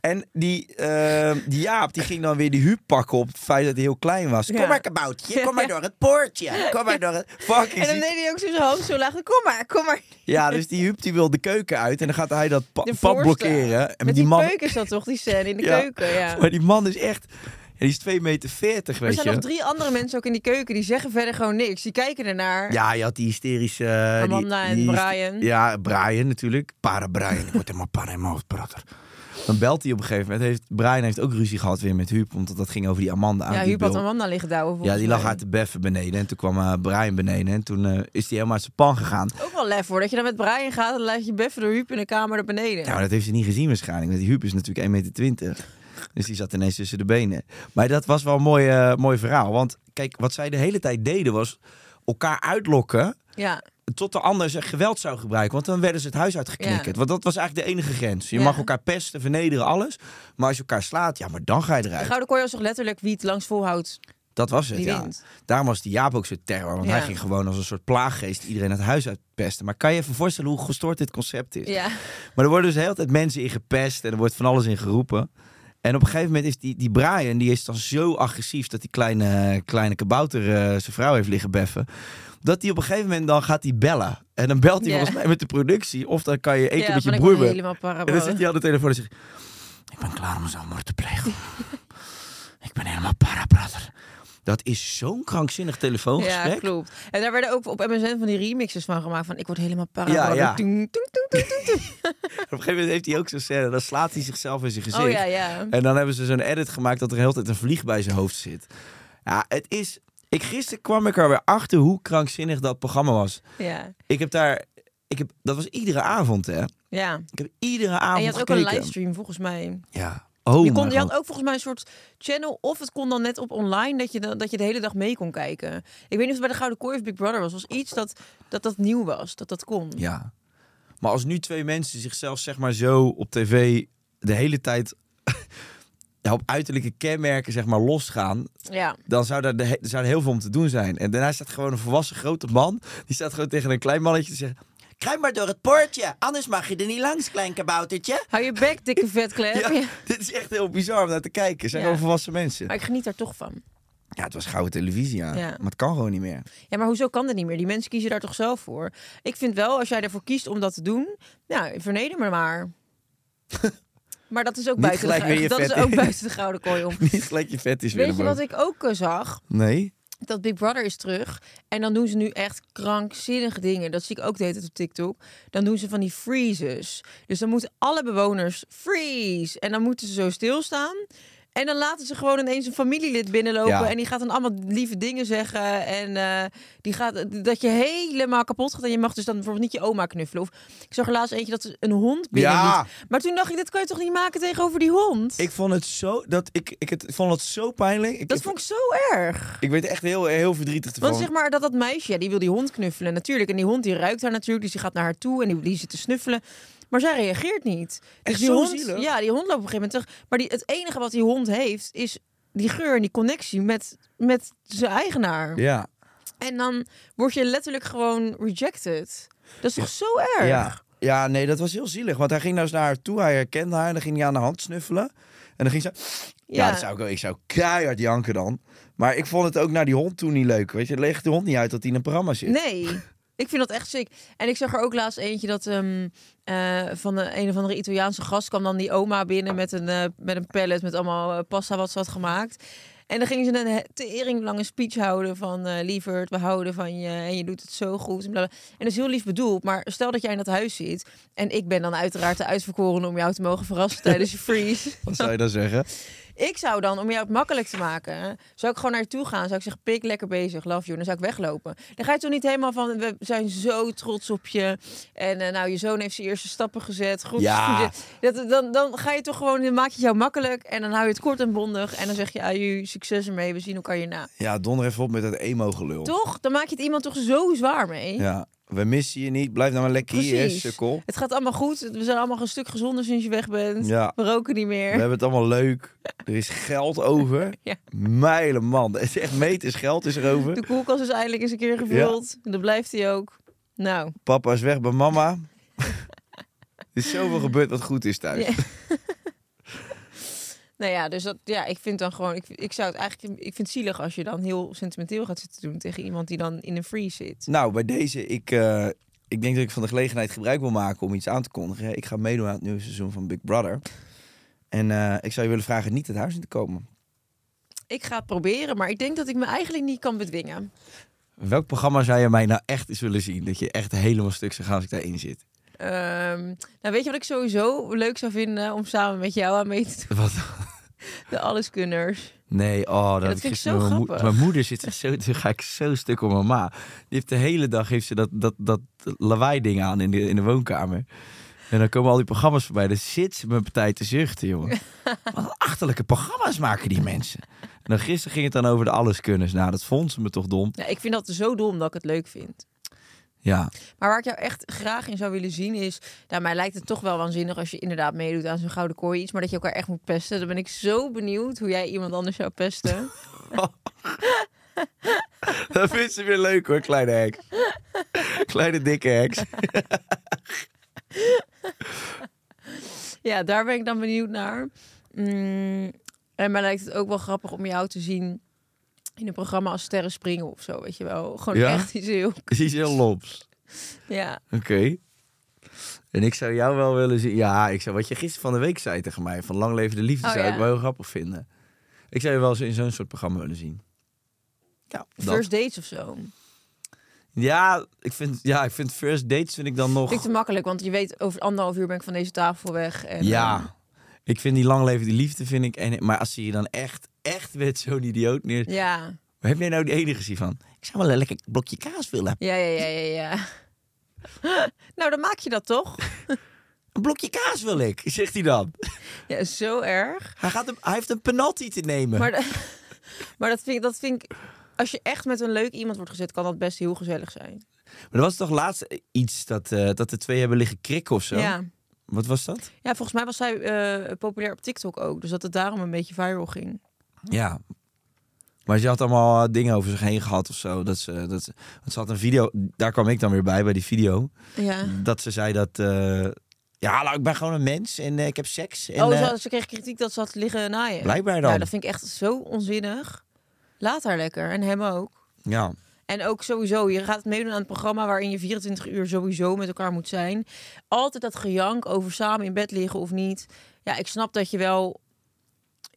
Speaker 1: En die, eh, die Jaap, die ging dan weer die Huub pakken op het feit dat hij heel klein was.
Speaker 5: Ja.
Speaker 1: Kom maar kaboutje, kom maar door het poortje. Kom maar door het... Fucking
Speaker 5: En dan
Speaker 1: ziek.
Speaker 5: deed hij ook zo zijn hoofd zo laag. Kom maar, kom maar.
Speaker 1: Ja, dus die Huub die wil de keuken uit en dan gaat hij dat pa-
Speaker 5: De
Speaker 1: pad
Speaker 5: voorste.
Speaker 1: blokkeren. En
Speaker 5: Met die, keuken is dat toch, die scène in de
Speaker 1: Ja.
Speaker 5: keuken. Ja.
Speaker 1: Maar die man is echt... ja, die is 2 meter 40,
Speaker 5: Er
Speaker 1: weet
Speaker 5: zijn
Speaker 1: je.
Speaker 5: nog drie andere mensen ook in die keuken die zeggen verder gewoon niks. Die kijken ernaar.
Speaker 1: Ja, je had die hysterische... eh, die-
Speaker 5: Amanda en
Speaker 1: die-
Speaker 5: Brian.
Speaker 1: Ja, Brian natuurlijk. Para Brian. Ik word helemaal para in mijn hoofd, prater. Dan belt hij op een gegeven moment. Heeft, Brian heeft ook ruzie gehad weer met Huub, omdat dat ging over die Amanda.
Speaker 5: ja
Speaker 1: die
Speaker 5: Huub had
Speaker 1: bul.
Speaker 5: Amanda liggen douwen.
Speaker 1: Ja,
Speaker 5: volgens
Speaker 1: die lag
Speaker 5: mij.
Speaker 1: uit de beffen beneden. En toen kwam eh, Brian beneden. En toen eh, is hij helemaal uit zijn pan gegaan.
Speaker 5: Ook wel lef hoor, dat je dan met Brian gaat en laat je beffen door Huub in de kamer naar beneden.
Speaker 1: Ja, maar dat heeft ze niet gezien waarschijnlijk. Want die Huub is natuurlijk 1,20 meter. Dus die zat ineens tussen de benen. Maar dat was wel een mooi, eh, mooi verhaal. Want kijk, wat zij de hele tijd deden was elkaar uitlokken.
Speaker 5: Ja.
Speaker 1: tot de ander zeg, geweld zou gebruiken. Want dan werden ze het huis uitgeknikkerd.
Speaker 5: Ja.
Speaker 1: Want dat was eigenlijk de enige grens. Je
Speaker 5: Ja.
Speaker 1: mag elkaar pesten, vernederen, alles. Maar als je elkaar slaat, ja, maar dan ga je
Speaker 5: De
Speaker 1: eruit.
Speaker 5: Gouden Kooi was toch letterlijk wie het langs volhoudt,
Speaker 1: Dat was het,
Speaker 5: die
Speaker 1: ja.
Speaker 5: wint.
Speaker 1: Daarom was die Jaap ook zo terror. Want
Speaker 5: Ja.
Speaker 1: hij ging gewoon als een soort plaaggeest iedereen het huis uitpesten. Maar kan je je even voorstellen hoe gestoord dit concept is?
Speaker 5: Ja.
Speaker 1: Maar er worden dus de hele tijd mensen in gepest en er wordt van alles in geroepen. En op een gegeven moment is die, die Brian, die is dan zo agressief dat die kleine, kleine kabouter eh, zijn vrouw heeft liggen beffen. Dat hij op een gegeven moment dan gaat hij bellen. En dan belt hij
Speaker 5: Ja.
Speaker 1: volgens mij met de productie. Of dan kan je één
Speaker 5: ja,
Speaker 1: keer met
Speaker 5: van
Speaker 1: je
Speaker 5: ik
Speaker 1: broer
Speaker 5: ben
Speaker 1: bellen.
Speaker 5: helemaal
Speaker 1: En dan zit
Speaker 5: parabool.
Speaker 1: hij aan de telefoon en zegt... Ik ben klaar om zo'n moord te plegen. ik ben helemaal parabrader. Dat is zo'n krankzinnig
Speaker 5: Ja,
Speaker 1: telefoongesprek.
Speaker 5: klopt. En daar werden ook op MSN van die remixes van gemaakt van ik word helemaal
Speaker 1: Ja,
Speaker 5: parabool.
Speaker 1: ja.
Speaker 5: Toeng, toeng, toeng, toeng, toeng.
Speaker 1: op een gegeven moment heeft hij ook zo'n scène. Dan slaat hij zichzelf in zijn gezicht.
Speaker 5: Oh ja, ja.
Speaker 1: En dan hebben ze zo'n edit gemaakt dat er heel tijd een vlieg bij zijn hoofd zit. Ja, het is... Ik, gisteren kwam ik er weer achter hoe krankzinnig dat programma was.
Speaker 5: Ja.
Speaker 1: Ik heb daar... Ik heb, dat was iedere avond, hè.
Speaker 5: ja.
Speaker 1: Ik heb iedere avond
Speaker 5: En je had ook een
Speaker 1: gekeken.
Speaker 5: livestream volgens mij.
Speaker 1: Ja. Oh
Speaker 5: je, kon,
Speaker 1: mijn
Speaker 5: je had
Speaker 1: god.
Speaker 5: ook volgens mij een soort channel. Of het kon dan net op online dat je, dan- dat je de hele dag mee kon kijken. Ik weet niet of het bij de Gouden Kooi of Big Brother was. was iets dat dat, dat nieuw was. Dat dat kon.
Speaker 1: Ja. Maar als nu twee mensen zichzelf zeg maar zo op tv de hele tijd ja, op uiterlijke kenmerken zeg maar losgaan,
Speaker 5: Ja.
Speaker 1: dan zou daar, de he- er zou er heel veel om te doen zijn. En daarna staat gewoon een volwassen grote man, die staat gewoon tegen een klein mannetje te zeggen, kruim maar door het poortje, anders mag je er niet langs, klein kaboutertje.
Speaker 5: Hou je bek, dikke vetklep.
Speaker 1: Ja,
Speaker 5: Ja.
Speaker 1: dit is echt heel bizar om naar te kijken. Het zijn
Speaker 5: Ja.
Speaker 1: gewoon volwassen mensen.
Speaker 5: Maar ik geniet daar toch van.
Speaker 1: Ja, het was gouden televisie, ja.
Speaker 5: Ja.
Speaker 1: Maar het kan gewoon niet meer.
Speaker 5: Ja, maar hoezo kan dat niet meer? Die mensen kiezen daar toch zelf voor? Ik vind wel, als jij ervoor kiest om dat te doen, nou, verneder me maar. maar dat is ook,
Speaker 1: Niet
Speaker 5: buiten de,
Speaker 1: gelijk weer
Speaker 5: gou-
Speaker 1: je
Speaker 5: dat is
Speaker 1: vet
Speaker 5: ook
Speaker 1: in.
Speaker 5: buiten de gouden kooi om.
Speaker 1: niet gelijk je vet is weer
Speaker 5: Weet je
Speaker 1: naar
Speaker 5: wat
Speaker 1: boven.
Speaker 5: ik ook eh, zag?
Speaker 1: Nee?
Speaker 5: Dat Big Brother is terug. En dan doen ze nu echt krankzinnige dingen. Dat zie ik ook de hele tijd op TikTok. Dan doen ze van die freezes. Dus dan moeten alle bewoners freeze. En dan moeten ze zo stilstaan. En dan laten ze gewoon ineens een familielid binnenlopen.
Speaker 1: Ja.
Speaker 5: En die gaat dan allemaal lieve dingen zeggen. En eh, die gaat, dat je helemaal kapot gaat. En je mag dus dan bijvoorbeeld niet je oma knuffelen. Of ik zag er laatst eentje dat ze een hond binnen
Speaker 1: Ja.
Speaker 5: liet. Maar toen dacht ik, dit kan je toch niet maken tegenover die hond?
Speaker 1: Ik vond het zo, dat, ik, ik, het, ik vond het zo pijnlijk. Ik,
Speaker 5: dat
Speaker 1: ik-
Speaker 5: vond ik zo erg.
Speaker 1: Ik werd echt heel, heel verdrietig ervan.
Speaker 5: Want zeg maar dat dat meisje, ja, die wil die hond knuffelen natuurlijk. En die hond die ruikt haar natuurlijk, dus die gaat naar haar toe en die, die zit te snuffelen. Maar zij reageert niet. Dus
Speaker 1: Echt
Speaker 5: die
Speaker 1: zo
Speaker 5: hond,
Speaker 1: zielig.
Speaker 5: Ja, die hond loopt op een gegeven moment terug. Maar die, het enige wat die hond heeft, is die geur en die connectie met, met zijn eigenaar.
Speaker 1: Ja.
Speaker 5: En dan word je letterlijk gewoon rejected. Dat is toch zo erg?
Speaker 1: ja. Ja, nee, dat was heel zielig. Want hij ging nou eens naar haar toe, hij herkende haar en dan ging hij aan de hand snuffelen. En dan ging ze... Ja,
Speaker 5: Ja.
Speaker 1: dat zou ik, wel- ik zou keihard janken dan. Maar ik vond het ook naar die hond toe niet leuk. Weet je, het legt de hond niet uit dat hij in een programma zit.
Speaker 5: Nee. Ik vind dat echt ziek. En ik zag er ook laatst eentje dat ehm, eh, van de een of andere Italiaanse gast kwam dan die oma binnen met een, eh, met een pallet met allemaal eh, pasta wat ze had gemaakt. En dan gingen ze een he- tering lange speech houden van eh lieverd, we houden van je en je doet het zo goed. En, blablabla. en dat is heel lief bedoeld, maar stel dat jij in dat huis zit en ik ben dan uiteraard de uitverkoren om jou te mogen verrassen tijdens je freeze.
Speaker 1: Wat zou je dan zeggen?
Speaker 5: Ik zou dan, om jou het makkelijk te maken, zou ik gewoon naartoe gaan. Zou ik zeggen, pik, lekker bezig, love you. En dan zou ik weglopen. Dan ga je toch niet helemaal van, we zijn zo trots op je. En eh, nou, je zoon heeft zijn eerste stappen gezet. Goed,
Speaker 1: Ja.
Speaker 5: Dat, dan, dan ga je toch gewoon, dan maak je het jou makkelijk. En dan hou je het kort en bondig. En dan zeg je, aju, succes ermee, we zien elkaar hierna.
Speaker 1: Ja, donder even op met dat emo-gelul.
Speaker 5: Toch? Dan maak je het iemand toch zo zwaar mee.
Speaker 1: Ja, we missen je niet. Blijf nou maar lekker hier,
Speaker 5: Precies.
Speaker 1: sukkel.
Speaker 5: Het gaat allemaal goed. We zijn allemaal een stuk gezonder sinds je weg bent.
Speaker 1: Ja.
Speaker 5: We roken niet
Speaker 1: We
Speaker 5: meer.
Speaker 1: hebben het allemaal leuk. Er is geld over.
Speaker 5: Ja.
Speaker 1: Mijlen man. Het is echt meters geld is er over.
Speaker 5: De koelkast is eindelijk eens een keer gevuld. En dat blijft hij ook. Nou.
Speaker 1: Papa is weg bij mama. er is zoveel gebeurd wat goed is thuis.
Speaker 5: Ja. Nou ja, dus dat, ja, ik vind dan gewoon, ik, ik zou het eigenlijk, ik vind het zielig als je dan heel sentimenteel gaat zitten doen tegen iemand die dan in een freeze zit.
Speaker 1: Nou, bij deze, ik, eh, ik denk dat ik van de gelegenheid gebruik wil maken om iets aan te kondigen. Ik ga meedoen aan het nieuwe seizoen van Big Brother. En eh, ik zou je willen vragen niet het huis in te komen.
Speaker 5: Ik ga het proberen, maar ik denk dat ik me eigenlijk niet kan bedwingen.
Speaker 1: Welk programma zou je mij nou echt eens willen zien? Dat je echt helemaal stuk zou gaan als ik daarin zit.
Speaker 5: Ehm, nou, weet je wat ik sowieso leuk zou vinden om samen met jou aan mee te doen?
Speaker 1: Wat?
Speaker 5: De alleskunners.
Speaker 1: Nee, oh, dat,
Speaker 5: dat
Speaker 1: had
Speaker 5: vind ik
Speaker 1: gisteren
Speaker 5: zo
Speaker 1: mijn, moe-
Speaker 5: grappig.
Speaker 1: mijn moeder zit er zo, toen ga ik zo stuk op mama. Die heeft de hele dag heeft ze dat, dat, dat lawaai ding aan in de, in de woonkamer. En dan komen al die programma's voorbij. Dan zit ze mijn partij te zuchten, jongen. Wat een achterlijke programma's maken die mensen. En dan gisteren ging het dan over de alleskunners. Nou, dat vond ze me toch dom.
Speaker 5: Nou, ik vind dat zo dom dat ik het leuk vind.
Speaker 1: Ja.
Speaker 5: Maar waar ik jou echt graag in zou willen zien is... Nou, mij lijkt het toch wel waanzinnig als je inderdaad meedoet aan zo'n gouden kooi iets... maar dat je elkaar echt moet pesten. Dan ben ik zo benieuwd hoe jij iemand anders zou pesten.
Speaker 1: Dat vindt ze weer leuk hoor, kleine heks. Kleine dikke heks.
Speaker 5: ja, daar ben ik dan benieuwd naar. Mm, en mij lijkt het ook wel grappig om jou te zien... in een programma als Sterren Springen of zo, weet je wel. Gewoon
Speaker 1: Ja?
Speaker 5: echt iets heel...
Speaker 1: Die is heel lops.
Speaker 5: Ja,
Speaker 1: Oké. En ik zou jou wel willen zien. Ja, ik zou wat je gisteren van de week zei tegen mij van lang leven de liefde
Speaker 5: Oh,
Speaker 1: zou
Speaker 5: ja.
Speaker 1: ik wel heel grappig vinden. Ik zou je wel eens in zo'n soort programma willen zien. Ja, dat.
Speaker 5: first dates of zo.
Speaker 1: ja, ik vind, ja, ik vind first dates vind ik dan nog.
Speaker 5: Vind ik te makkelijk, want je weet over anderhalf uur ben ik van deze tafel weg. En, eh,
Speaker 1: Ja, ik vind die lang leven de liefde vind ik. En, maar als zie je dan echt, echt met zo'n idioot neer.
Speaker 5: ja,
Speaker 1: Waar heb jij nou die ene gezien van? Ik zou wel een lekker blokje kaas willen.
Speaker 5: ja, ja, ja, ja. ja. nou, dan maak je dat toch?
Speaker 1: Een blokje kaas wil ik, zegt hij dan.
Speaker 5: Ja, zo erg.
Speaker 1: Hij, gaat hem, hij heeft een penalty te nemen.
Speaker 5: Maar, de- maar dat, vind ik, dat vind ik... Als je echt met een leuk iemand wordt gezet, kan dat best heel gezellig zijn.
Speaker 1: Maar er was toch laatst iets dat, eh, dat de twee hebben liggen krikken of zo?
Speaker 5: Ja.
Speaker 1: Wat was dat?
Speaker 5: ja, volgens mij was zij eh, populair op TikTok ook. Dus dat het daarom een beetje viral ging.
Speaker 1: Ja. Maar ze had allemaal eh, dingen over zich heen gehad of zo. Dat ze, dat ze, want ze had een video, daar kwam ik dan weer bij, bij die video.
Speaker 5: Ja.
Speaker 1: Dat ze zei dat, eh, ja hallo, ik ben gewoon een mens en eh, ik heb seks. En,
Speaker 5: oh,
Speaker 1: eh,
Speaker 5: ze, ze kreeg kritiek dat ze had liggen naaien.
Speaker 1: Blijkbaar dan.
Speaker 5: Nou, dat vind ik echt zo onzinnig. Laat haar lekker. En hem ook.
Speaker 1: ja.
Speaker 5: En ook sowieso, je gaat meedoen aan het programma waarin je 24 uur sowieso met elkaar moet zijn. Altijd dat gejank over samen in bed liggen of niet. Ja, ik snap dat je wel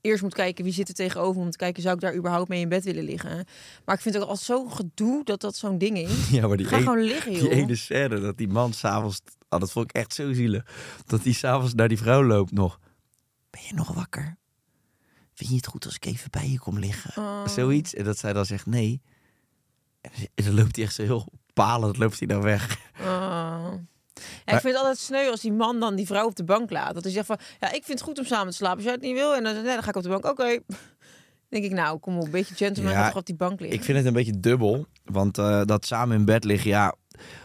Speaker 5: eerst moet kijken wie zit er tegenover. Om te kijken, zou ik daar überhaupt mee in bed willen liggen? Maar ik vind het ook altijd zo'n gedoe dat dat zo'n ding is.
Speaker 1: ja, maar die
Speaker 5: Ga
Speaker 1: een-
Speaker 5: gewoon liggen, joh.
Speaker 1: Die ene scène dat die man s'avonds... Oh, dat vond ik echt zo zielig. Dat hij s'avonds naar die vrouw loopt nog. Ben je nog wakker? Vind je het goed als ik even bij je kom liggen?
Speaker 5: Oh.
Speaker 1: Zoiets. En dat zij dan zegt nee. En dan- En dan loopt hij echt zo heel palend loopt hij dan weg.
Speaker 5: Oh. Ja,
Speaker 1: Maar-
Speaker 5: ik vind het altijd sneu als die man dan die vrouw op de bank laat. Dat hij zegt van, ja, ik vind het goed om samen te slapen. Als jij het niet wil, en dan, nee, dan ga ik op de bank. Oké. denk ik, nou, kom op, een beetje gentleman.
Speaker 1: Ja,
Speaker 5: ga toch op die bank liggen.
Speaker 1: Ik vind het een beetje dubbel. Want eh, dat samen in bed liggen, ja...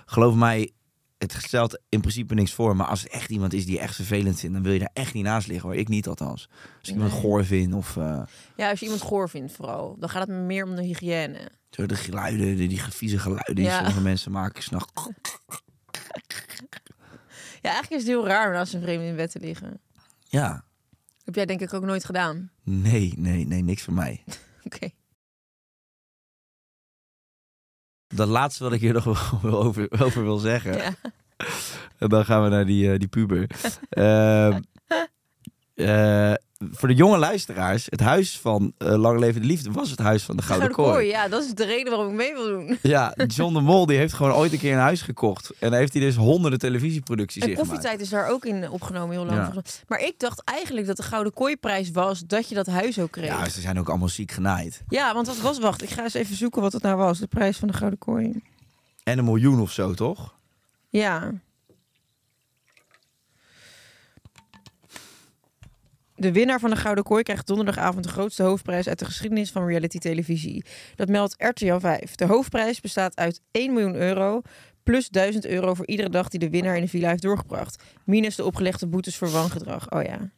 Speaker 1: Geloof mij, het stelt in principe niks voor. Maar als het echt iemand is die je echt vervelend vindt... dan wil je daar echt niet naast liggen hoor. Ik niet althans. Als ik iemand goor vind of... eh,
Speaker 5: Ja, als je iemand goor vindt vooral. Dan gaat het meer om de hygiëne.
Speaker 1: Zo de geluiden, die, die vieze geluiden die
Speaker 5: Ja.
Speaker 1: sommige mensen maken s'nachts.
Speaker 5: Ja, eigenlijk is het heel raar om naast een vreemde in bed te liggen.
Speaker 1: Ja,
Speaker 5: heb jij denk ik ook nooit gedaan.
Speaker 1: nee, nee, nee, niks voor mij.
Speaker 5: Oké.
Speaker 1: Dat laatste wat ik hier nog wel- wel over, over wil zeggen.
Speaker 5: Ja.
Speaker 1: En dan gaan we naar die, eh, die puber. Ehm, eh, voor de jonge luisteraars, het huis van eh, Lang Leven de Liefde was het huis van de Gouden
Speaker 5: Gouden kooi,
Speaker 1: Kooi.
Speaker 5: ja, dat is de reden waarom ik mee wil doen.
Speaker 1: Ja, John de Mol die heeft gewoon ooit een keer een huis gekocht. En daar heeft hij dus honderden televisieproducties
Speaker 5: En
Speaker 1: in gemaakt.
Speaker 5: koffietijd is daar ook in opgenomen, heel lang.
Speaker 1: Ja.
Speaker 5: volgens mij. Maar ik dacht eigenlijk dat de Gouden Kooi-prijs was dat je dat huis ook kreeg.
Speaker 1: Ja,
Speaker 5: Ja,
Speaker 1: ze zijn ook allemaal ziek genaaid.
Speaker 5: want dat was, wacht, ik ga eens even zoeken wat het nou was. De prijs van de Gouden Kooi.
Speaker 1: En een miljoen of zo, toch?
Speaker 5: Ja. De winnaar van de Gouden Kooi krijgt donderdagavond de grootste hoofdprijs uit de geschiedenis van reality televisie. Dat meldt RTL 5. De hoofdprijs bestaat uit 1 miljoen euro plus 1000 euro voor iedere dag die de winnaar in de villa heeft doorgebracht. Minus de opgelegde boetes voor wangedrag. Oh ja.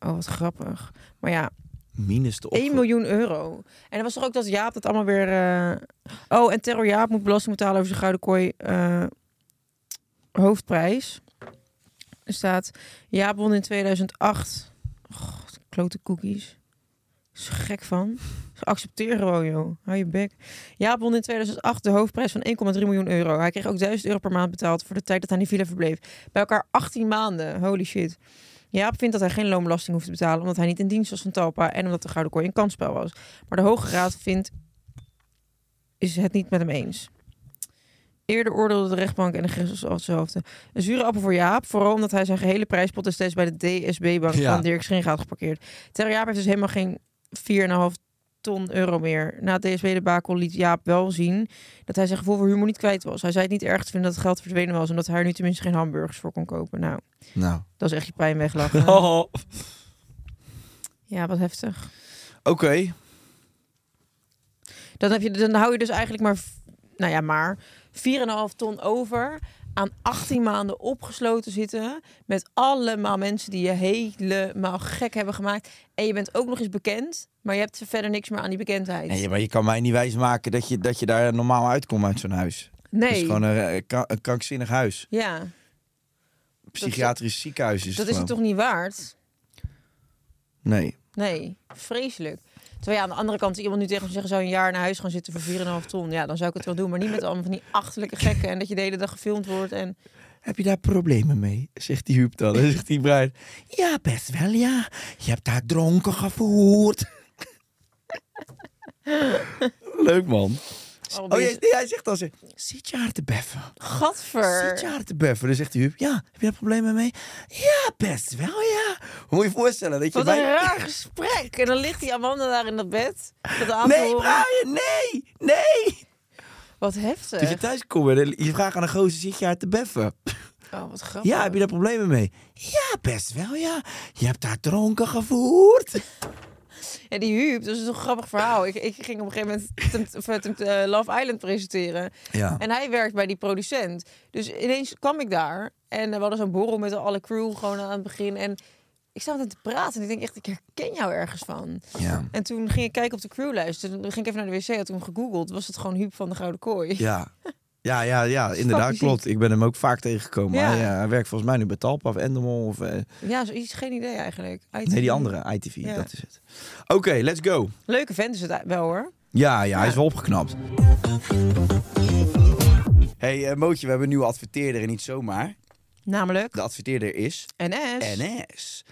Speaker 5: Oh, wat grappig. Maar ja,
Speaker 1: Minus de
Speaker 5: 1 miljoen euro. En er was toch ook dat Jaap dat allemaal weer... eh, Oh, en Terror Jaap moet belasting betalen over zijn Gouden Kooi eh, hoofdprijs. Er staat... Jaap won in 2008... God, klote cookies. Is er gek van. Accepteer gewoon, joh. Hou je bek. Jaap won in 2008 de hoofdprijs van 1,3 miljoen euro. Hij kreeg ook 1000 euro per maand betaald voor de tijd dat hij in de villa verbleef. Bij elkaar 18 maanden. Holy shit. Jaap vindt dat hij geen loonbelasting hoeft te betalen omdat hij niet in dienst was van Talpa en omdat de Gouden Kooi een kansspel was. Maar de Hoge Raad vindt is het niet met hem eens. Eerder oordeelde de rechtbank en de gistels al hetzelfde. Een zure appel voor Jaap, vooral omdat hij zijn gehele prijspot destijds bij de DSB-bank
Speaker 1: Ja.
Speaker 5: van Dirk Schringa had geparkeerd. Ter Jaap heeft dus helemaal geen 4,5 ton euro meer. Na het DSB-debakel liet Jaap wel zien dat hij zijn gevoel voor humor niet kwijt was. Hij zei het niet erg te vinden dat het geld verdwenen was, omdat hij er nu tenminste geen hamburgers voor kon kopen. Nou,
Speaker 1: Nou.
Speaker 5: dat is echt je pijn weglachen.
Speaker 1: Oh.
Speaker 5: Ja, wat heftig.
Speaker 1: Oké.
Speaker 5: Dan, heb je, dan hou je dus eigenlijk maar, v- nou ja, maar 4,5 ton over aan 18 maanden opgesloten zitten. Met allemaal mensen die je helemaal gek hebben gemaakt. En je bent ook nog eens bekend, maar je hebt verder niks meer aan die bekendheid.
Speaker 1: Nee, maar je kan mij niet wijsmaken dat je, dat je daar normaal uitkomt uit zo'n huis. Het is
Speaker 5: Nee.
Speaker 1: gewoon een, eh, kra- een krankzinnig huis.
Speaker 5: Ja,
Speaker 1: Een psychiatrisch ziekenhuis is
Speaker 5: dat
Speaker 1: het
Speaker 5: is het
Speaker 1: gewoon.
Speaker 5: toch niet waard?
Speaker 1: Nee.
Speaker 5: Nee, vreselijk. Terwijl ja, aan de andere kant, als iemand nu tegen me zeggen, zou je een jaar naar huis gaan zitten voor 4,5 ton. Ja, dan zou ik het wel doen, maar niet met allemaal van die achterlijke gekken en dat je de hele dag gefilmd wordt. En
Speaker 1: Heb je daar problemen mee? Zegt die Huub dan. En zegt die Brian. Ja, best wel ja. Je hebt daar dronken gevoerd. Leuk man. Oh, jij, nee, hij zegt dan ze, zit je haar te beffen? Zit je
Speaker 5: Gadver.
Speaker 1: haar te beffen? Dan zegt die Huub, ja, heb je daar problemen mee? Ja, best wel ja. Moet je je voorstellen dat je
Speaker 5: Wat een
Speaker 1: bij-
Speaker 5: raar gesprek. En dan ligt die Amanda daar in dat bed. Dat aan te
Speaker 1: Nee,
Speaker 5: horen.
Speaker 1: Brian, nee, nee.
Speaker 5: Wat
Speaker 1: Dat je
Speaker 5: heftig.
Speaker 1: thuis komt en je vraagt aan een gozer, zit je haar te beffen?
Speaker 5: Oh, wat grappig.
Speaker 1: Ja, heb je daar problemen mee? Ja, best wel ja. Je hebt daar dronken gevoerd.
Speaker 5: En die Huub, dat is een grappig verhaal. Ik, ik ging op een gegeven moment tempt- of, eh, tempt- eh, Love Island presenteren.
Speaker 1: Ja.
Speaker 5: En hij werkt bij die producent. Dus ineens kwam ik daar. En eh, we hadden zo'n borrel met alle crew gewoon aan het begin. En ik zat met hem te praten. En ik denk echt, ik herken jou ergens van.
Speaker 1: Ja.
Speaker 5: En toen ging ik kijken op de crewlijst. En Toen ging ik even naar de wc. Had toen gegoogeld. Was het gewoon Huub van de Gouden Kooi.
Speaker 1: Ja. Ja, ja, ja, inderdaad,
Speaker 5: muziek.
Speaker 1: klopt. Ik ben hem ook vaak tegengekomen.
Speaker 5: Ja.
Speaker 1: Hij, eh, hij werkt volgens mij nu bij Talpa of Endemol of... eh,
Speaker 5: Ja, zoiets. Geen idee eigenlijk. Uit-
Speaker 1: nee, die andere, ITV,
Speaker 5: Ja.
Speaker 1: dat is het. Oké, let's go.
Speaker 5: Leuke vent is het wel hoor.
Speaker 1: Ja, ja, hij is wel opgeknapt. hey, eh, Mootje, we hebben een nieuwe adverteerder en niet zomaar.
Speaker 5: Namelijk
Speaker 1: De adverteerder is
Speaker 5: NS.
Speaker 1: NS.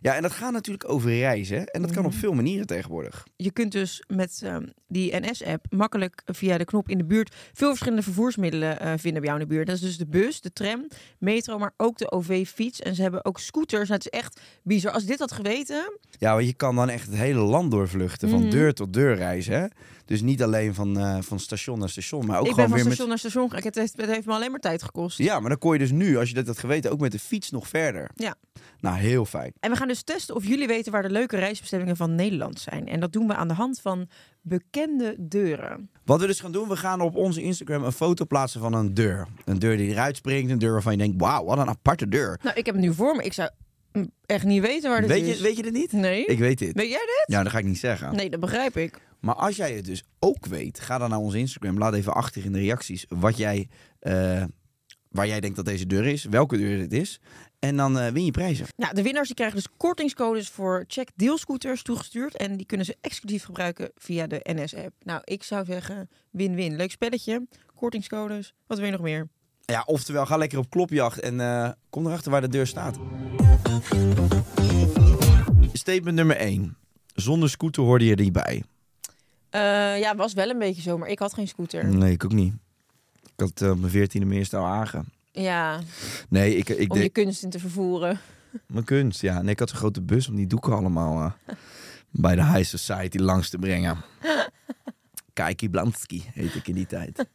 Speaker 1: Ja, en dat gaat natuurlijk over reizen. En dat kan
Speaker 5: Mhm.
Speaker 1: op veel manieren tegenwoordig.
Speaker 5: Je kunt dus met ehm, die NS-app makkelijk via de knop in de buurt veel verschillende vervoersmiddelen eh, vinden bij jou in de buurt. Dat is dus de bus, de tram, metro, maar ook de OV-fiets. En ze hebben ook scooters. Nou, het is echt bizar. Als ik dit had geweten,
Speaker 1: Ja, want je kan dan echt het hele land doorvluchten. Van
Speaker 5: Mhm.
Speaker 1: deur tot deur reizen. Hè? Dus niet alleen van, eh, van station naar station, maar ook
Speaker 5: ik ben
Speaker 1: gewoon
Speaker 5: van
Speaker 1: weer
Speaker 5: station
Speaker 1: met...
Speaker 5: naar station gegaan. Het heeft, het heeft me alleen maar tijd gekost.
Speaker 1: Ja, maar dan kon je dus nu, als je dat had geweten, ook met de fiets nog verder.
Speaker 5: Ja.
Speaker 1: Nou, heel fijn.
Speaker 5: En we gaan dus testen of jullie weten waar de leuke reisbestemmingen van Nederland zijn. En dat doen we aan de hand van bekende deuren.
Speaker 1: Wat we dus gaan doen, we gaan op onze Instagram een foto plaatsen van een deur. Een deur die eruit springt, een deur waarvan je denkt, wauw, wat een aparte deur.
Speaker 5: Nou, ik heb het nu voor me. Ik zou mm, echt niet weten waar dit
Speaker 1: Weet
Speaker 5: is.
Speaker 1: je, weet je dit niet?
Speaker 5: Nee.
Speaker 1: Ik weet dit.
Speaker 5: Weet jij dit?
Speaker 1: Ja, dat ga ik niet zeggen.
Speaker 5: Nee, dat begrijp ik.
Speaker 1: Maar als jij het dus ook weet, ga dan naar onze Instagram. Laat even achter in de reacties wat jij, eh, waar jij denkt dat deze deur is, welke deur dit is. En dan eh, win je prijzen.
Speaker 5: Nou, de winnaars die krijgen dus kortingscodes voor check deelscooters toegestuurd. En die kunnen ze exclusief gebruiken via de NS-app. Nou, ik zou zeggen win-win. Leuk spelletje. Kortingscodes. Wat wil je nog meer?
Speaker 1: Ja, oftewel, ga lekker op klopjacht en eh, kom erachter waar de deur staat. Statement nummer 1. Zonder scooter hoorde je er niet bij.
Speaker 5: Eh, ja, was wel een beetje zo, maar ik had geen scooter.
Speaker 1: Nee, ik ook niet. Ik had eh, op mijn veertiende mijn eerste wagen.
Speaker 5: Ja,
Speaker 1: Nee, ik, ik
Speaker 5: om je
Speaker 1: deed
Speaker 5: kunst in te vervoeren.
Speaker 1: mijn kunst. Ja, nee, ik had een grote bus om die doeken allemaal eh, bij de high society langs te brengen. Kajki Blansky heet ik in die tijd.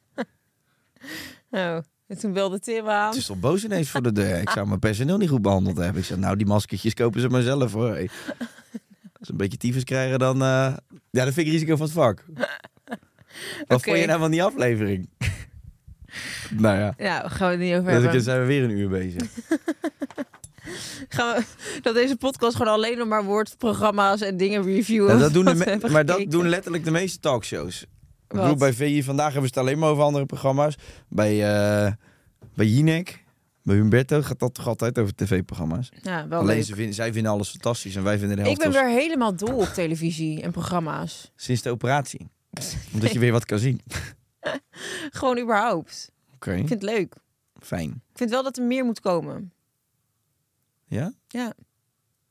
Speaker 5: Oh, en toen belde Tim aan.
Speaker 1: Het is toch boos ineens voor de deur. Ik zou mijn personeel niet goed behandeld hebben. Ik zei, nou, die maskertjes kopen ze maar zelf hoor. Hey. Als ze een beetje tyfus krijgen, dan... eh, Ja, dat vind ik risico van het vak. Wat vond je nou van die aflevering? nou ja,
Speaker 5: Nou, gaan we het niet over
Speaker 1: dan
Speaker 5: hebben.
Speaker 1: zijn we weer een uur bezig.
Speaker 5: Gaan we, dat deze podcast gewoon alleen nog maar woordprogramma's en dingen reviewen.
Speaker 1: Nou, dat doen de
Speaker 5: wat we
Speaker 1: me-
Speaker 5: hebben
Speaker 1: maar dat
Speaker 5: gekeken.
Speaker 1: doen letterlijk de meeste talkshows. Ik
Speaker 5: Wat?
Speaker 1: bedoel, bij VI vandaag hebben ze het alleen maar over andere programma's. Bij, eh bij Jinek, bij Humberto gaat dat toch altijd over tv-programma's.
Speaker 5: Ja, wel
Speaker 1: Alleen
Speaker 5: leuk.
Speaker 1: ze vinden, zij vinden alles fantastisch en wij vinden de
Speaker 5: Ik
Speaker 1: helft
Speaker 5: ben
Speaker 1: wel-
Speaker 5: weer helemaal dol op televisie en programma's.
Speaker 1: sinds de operatie. Omdat je weer wat kan zien.
Speaker 5: Gewoon überhaupt.
Speaker 1: Oké,
Speaker 5: Ik vind het leuk.
Speaker 1: fijn.
Speaker 5: Ik vind wel dat er meer moet komen.
Speaker 1: Ja?
Speaker 5: Ja,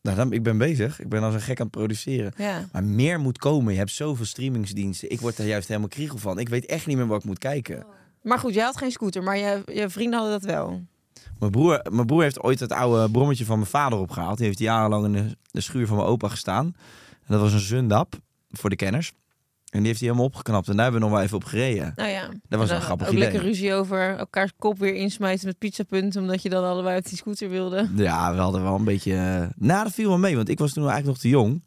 Speaker 1: Nou, dan, ik ben bezig. Ik ben als een gek aan het produceren.
Speaker 5: ja.
Speaker 1: Maar meer moet komen. Je hebt zoveel streamingsdiensten. Ik word daar juist helemaal kriegel van. Ik weet echt niet meer wat ik moet kijken.
Speaker 5: Maar goed, jij had geen scooter, maar je, je vrienden hadden dat wel.
Speaker 1: Mijn broer, mijn broer heeft ooit het oude brommetje van mijn vader opgehaald. Die heeft jarenlang in de, de schuur van mijn opa gestaan. En dat was een Zundap, voor de kenners. En die heeft hij helemaal opgeknapt. En daar hebben we nog wel even op gereden.
Speaker 5: Nou ja.
Speaker 1: Dat was een grappig
Speaker 5: ook
Speaker 1: idee.
Speaker 5: lekker ruzie over elkaars kop weer insmijten met pizzapunt, omdat je dan allebei op die scooter wilde.
Speaker 1: Ja, we hadden wel een beetje... eh, Nou, dat viel wel mee, want ik was toen eigenlijk nog te jong.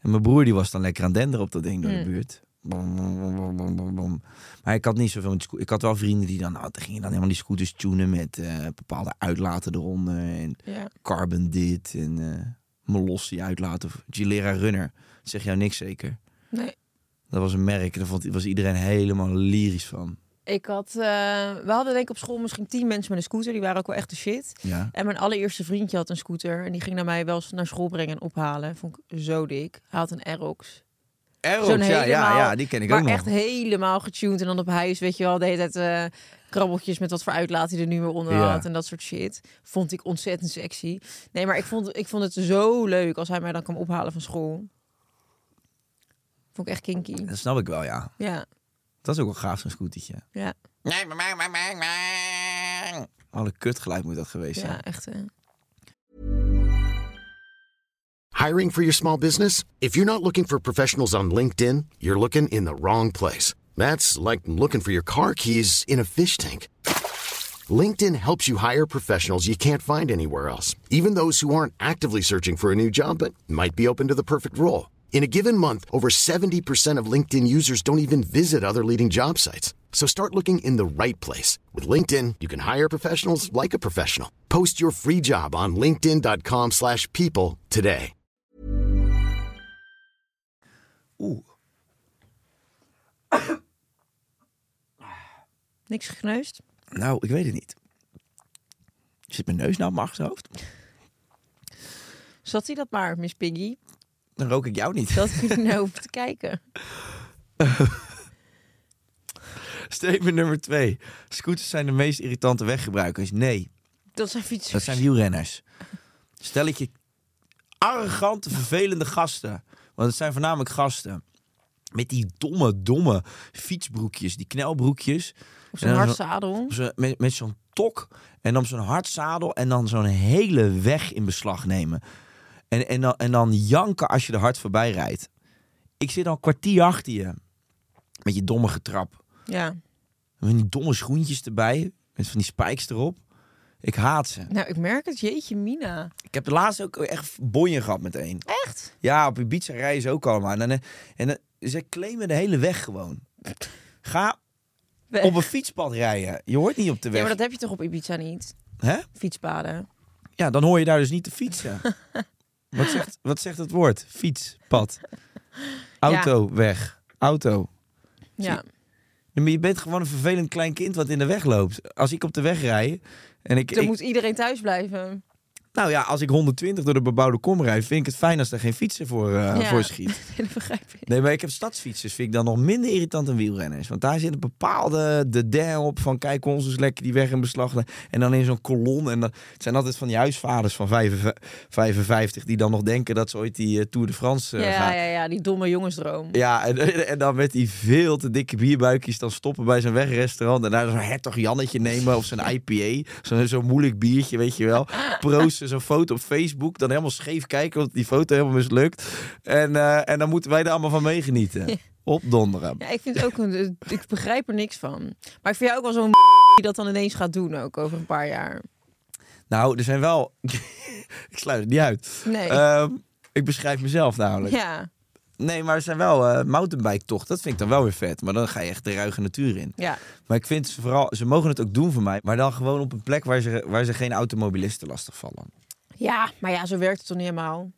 Speaker 1: En mijn broer die was dan lekker aan het denderen op dat ding door de buurt. Bom, bom, bom, bom, bom, bom. Maar ik had niet zoveel met scooters. Ik had wel vrienden die dan, nou, dan gingen dan helemaal die scooters tunen met eh, bepaalde uitlaten eronder. En
Speaker 5: Ja.
Speaker 1: carbon dit en eh Molossi uitlaten. Of Gilera Runner. Dat zeg jou niks zeker.
Speaker 5: Nee.
Speaker 1: Dat was een merk. Daar vond, was iedereen helemaal lyrisch van.
Speaker 5: Ik had, eh, we hadden denk ik op school misschien tien mensen met een scooter. Die waren ook wel echt de shit.
Speaker 1: Ja.
Speaker 5: En mijn allereerste vriendje had een scooter. En die ging naar mij wel eens naar school brengen en ophalen. Vond ik zo dik. Hij had een Aerox.
Speaker 1: Aerox,
Speaker 5: Zo'n
Speaker 1: ja, ja,
Speaker 5: helemaal-
Speaker 1: ja, die ken ik
Speaker 5: maar
Speaker 1: ook nog.
Speaker 5: echt helemaal getuned. En dan op huis, weet je wel, de hele tijd eh, krabbeltjes met wat voor uitlaat hij er nu weer onder
Speaker 1: Ja.
Speaker 5: had. En dat soort shit. Vond ik ontzettend sexy. Nee, maar ik vond, ik vond het zo leuk als hij mij dan kwam ophalen van school. Vond ik echt kinky.
Speaker 1: Dat snap ik wel, ja.
Speaker 5: Ja,
Speaker 1: Dat is ook wel gaaf, zo'n scootertje.
Speaker 5: ja,
Speaker 1: Alle kutgeluid moet dat geweest zijn.
Speaker 5: ja, echt. eh, hè.
Speaker 6: Hiring for your small business? If you're not looking for professionals on LinkedIn, you're looking in the wrong place. That's like looking for your car keys in a fish tank. LinkedIn helps you hire professionals you can't find anywhere else, even those who aren't actively searching for a new job but might be open to the perfect role. In a given month, over 70% of LinkedIn users don't even visit other leading job sites. So start looking in the right place. With LinkedIn, you can hire professionals like a professional. Post your free job on linkedin.com/people slash people today.
Speaker 1: Oeh,
Speaker 5: Niks gekneusd.
Speaker 1: nou, ik weet het niet. Zit mijn neus nou op mijn achterhoofd?
Speaker 5: Zat hij dat maar, Miss Piggy?
Speaker 1: Dan rook ik jou niet.
Speaker 5: Dat ik er nou hoef te kijken.
Speaker 1: Statement nummer twee. Scooters zijn de meest irritante weggebruikers. Nee,
Speaker 5: Dat zijn fietsers.
Speaker 1: dat zijn wielrenners. Stelletje arrogante, vervelende gasten. Want het zijn voornamelijk gasten. Met die domme, domme fietsbroekjes. Die knelbroekjes.
Speaker 5: Op zo'n
Speaker 1: En dan
Speaker 5: hard
Speaker 1: zo-
Speaker 5: zadel.
Speaker 1: op zo'n- met, met zo'n tok en dan op zo'n hard zadel en dan zo'n hele weg in beslag nemen. En, en, dan, en dan janken als je er hard voorbij rijdt. Ik zit al een kwartier achter je met je domme getrap.
Speaker 5: Ja.
Speaker 1: Met die domme schoentjes erbij, met van die spijks erop. Ik haat ze.
Speaker 5: Nou, ik merk het. Jeetje, Mina.
Speaker 1: Ik heb de laatste ook echt bonje gehad meteen.
Speaker 5: Echt?
Speaker 1: Ja, op Ibiza rijden ze ook allemaal. En, dan- eh, en, dan- ze claimen de hele weg gewoon. Ga
Speaker 5: Weg.
Speaker 1: op een fietspad rijden. Je hoort niet op de
Speaker 5: Ja,
Speaker 1: weg.
Speaker 5: maar dat heb je toch op Ibiza niet?
Speaker 1: Hè?
Speaker 5: Fietspaden.
Speaker 1: Ja, dan hoor je daar dus niet te fietsen. wat, zegt, wat zegt het woord? Fiets, pad. Auto, weg. Auto.
Speaker 5: Ja.
Speaker 1: Nee, maar je bent gewoon een vervelend klein kind wat in de weg loopt. Als ik op de weg rij en ik...
Speaker 5: Dan
Speaker 1: ik-
Speaker 5: moet iedereen thuis blijven.
Speaker 1: Nou ja, als ik 120 door de bebouwde kom rijd, vind ik het fijn als daar geen fietsen voor, eh,
Speaker 5: Ja.
Speaker 1: voor schiet.
Speaker 5: Dat begrijp ik.
Speaker 1: Nee, maar ik heb stadsfietsers, vind ik dan nog minder irritant dan wielrenners. Want daar zit een bepaalde de der op van kijk ons eens lekker die weg in beslag. nemen. En dan in zo'n kolon. En dan, het zijn altijd van die huisvaders van 55 55 die dan nog denken dat ze ooit die eh, Tour de France eh,
Speaker 5: Ja,
Speaker 1: gaan.
Speaker 5: ja,
Speaker 1: Ja,
Speaker 5: ja, die domme jongensdroom.
Speaker 1: en, en dan met die veel te dikke bierbuikjes dan stoppen bij zo'n wegrestaurant. En daar zo'n hertog Jannetje nemen of zo'n IPA. Zo'n zo'n moeilijk biertje, weet je wel. Proosten, zo'n foto op Facebook. Dan helemaal scheef kijken, want die foto helemaal mislukt. En, eh, en dan moeten wij er allemaal van meegenieten. Opdonderen.
Speaker 5: Ja, ik vind het ook een. Ik begrijp er niks van. Maar ik vind jou ook wel zo'n die dat dan ineens gaat doen, ook over een paar jaar.
Speaker 1: Nou, er zijn wel. ik sluit het niet uit.
Speaker 5: Nee.
Speaker 1: Ehm, ik beschrijf mezelf namelijk.
Speaker 5: Ja,
Speaker 1: Nee, maar er zijn wel eh mountainbike tocht. Dat vind ik dan wel weer vet. Maar dan ga je echt de ruige natuur in.
Speaker 5: ja.
Speaker 1: Maar ik vind ze vooral, ze mogen het ook doen voor mij. Maar dan gewoon op een plek waar ze, waar ze geen automobilisten lastig vallen.
Speaker 5: Ja, maar ja, zo werkt het toch niet helemaal.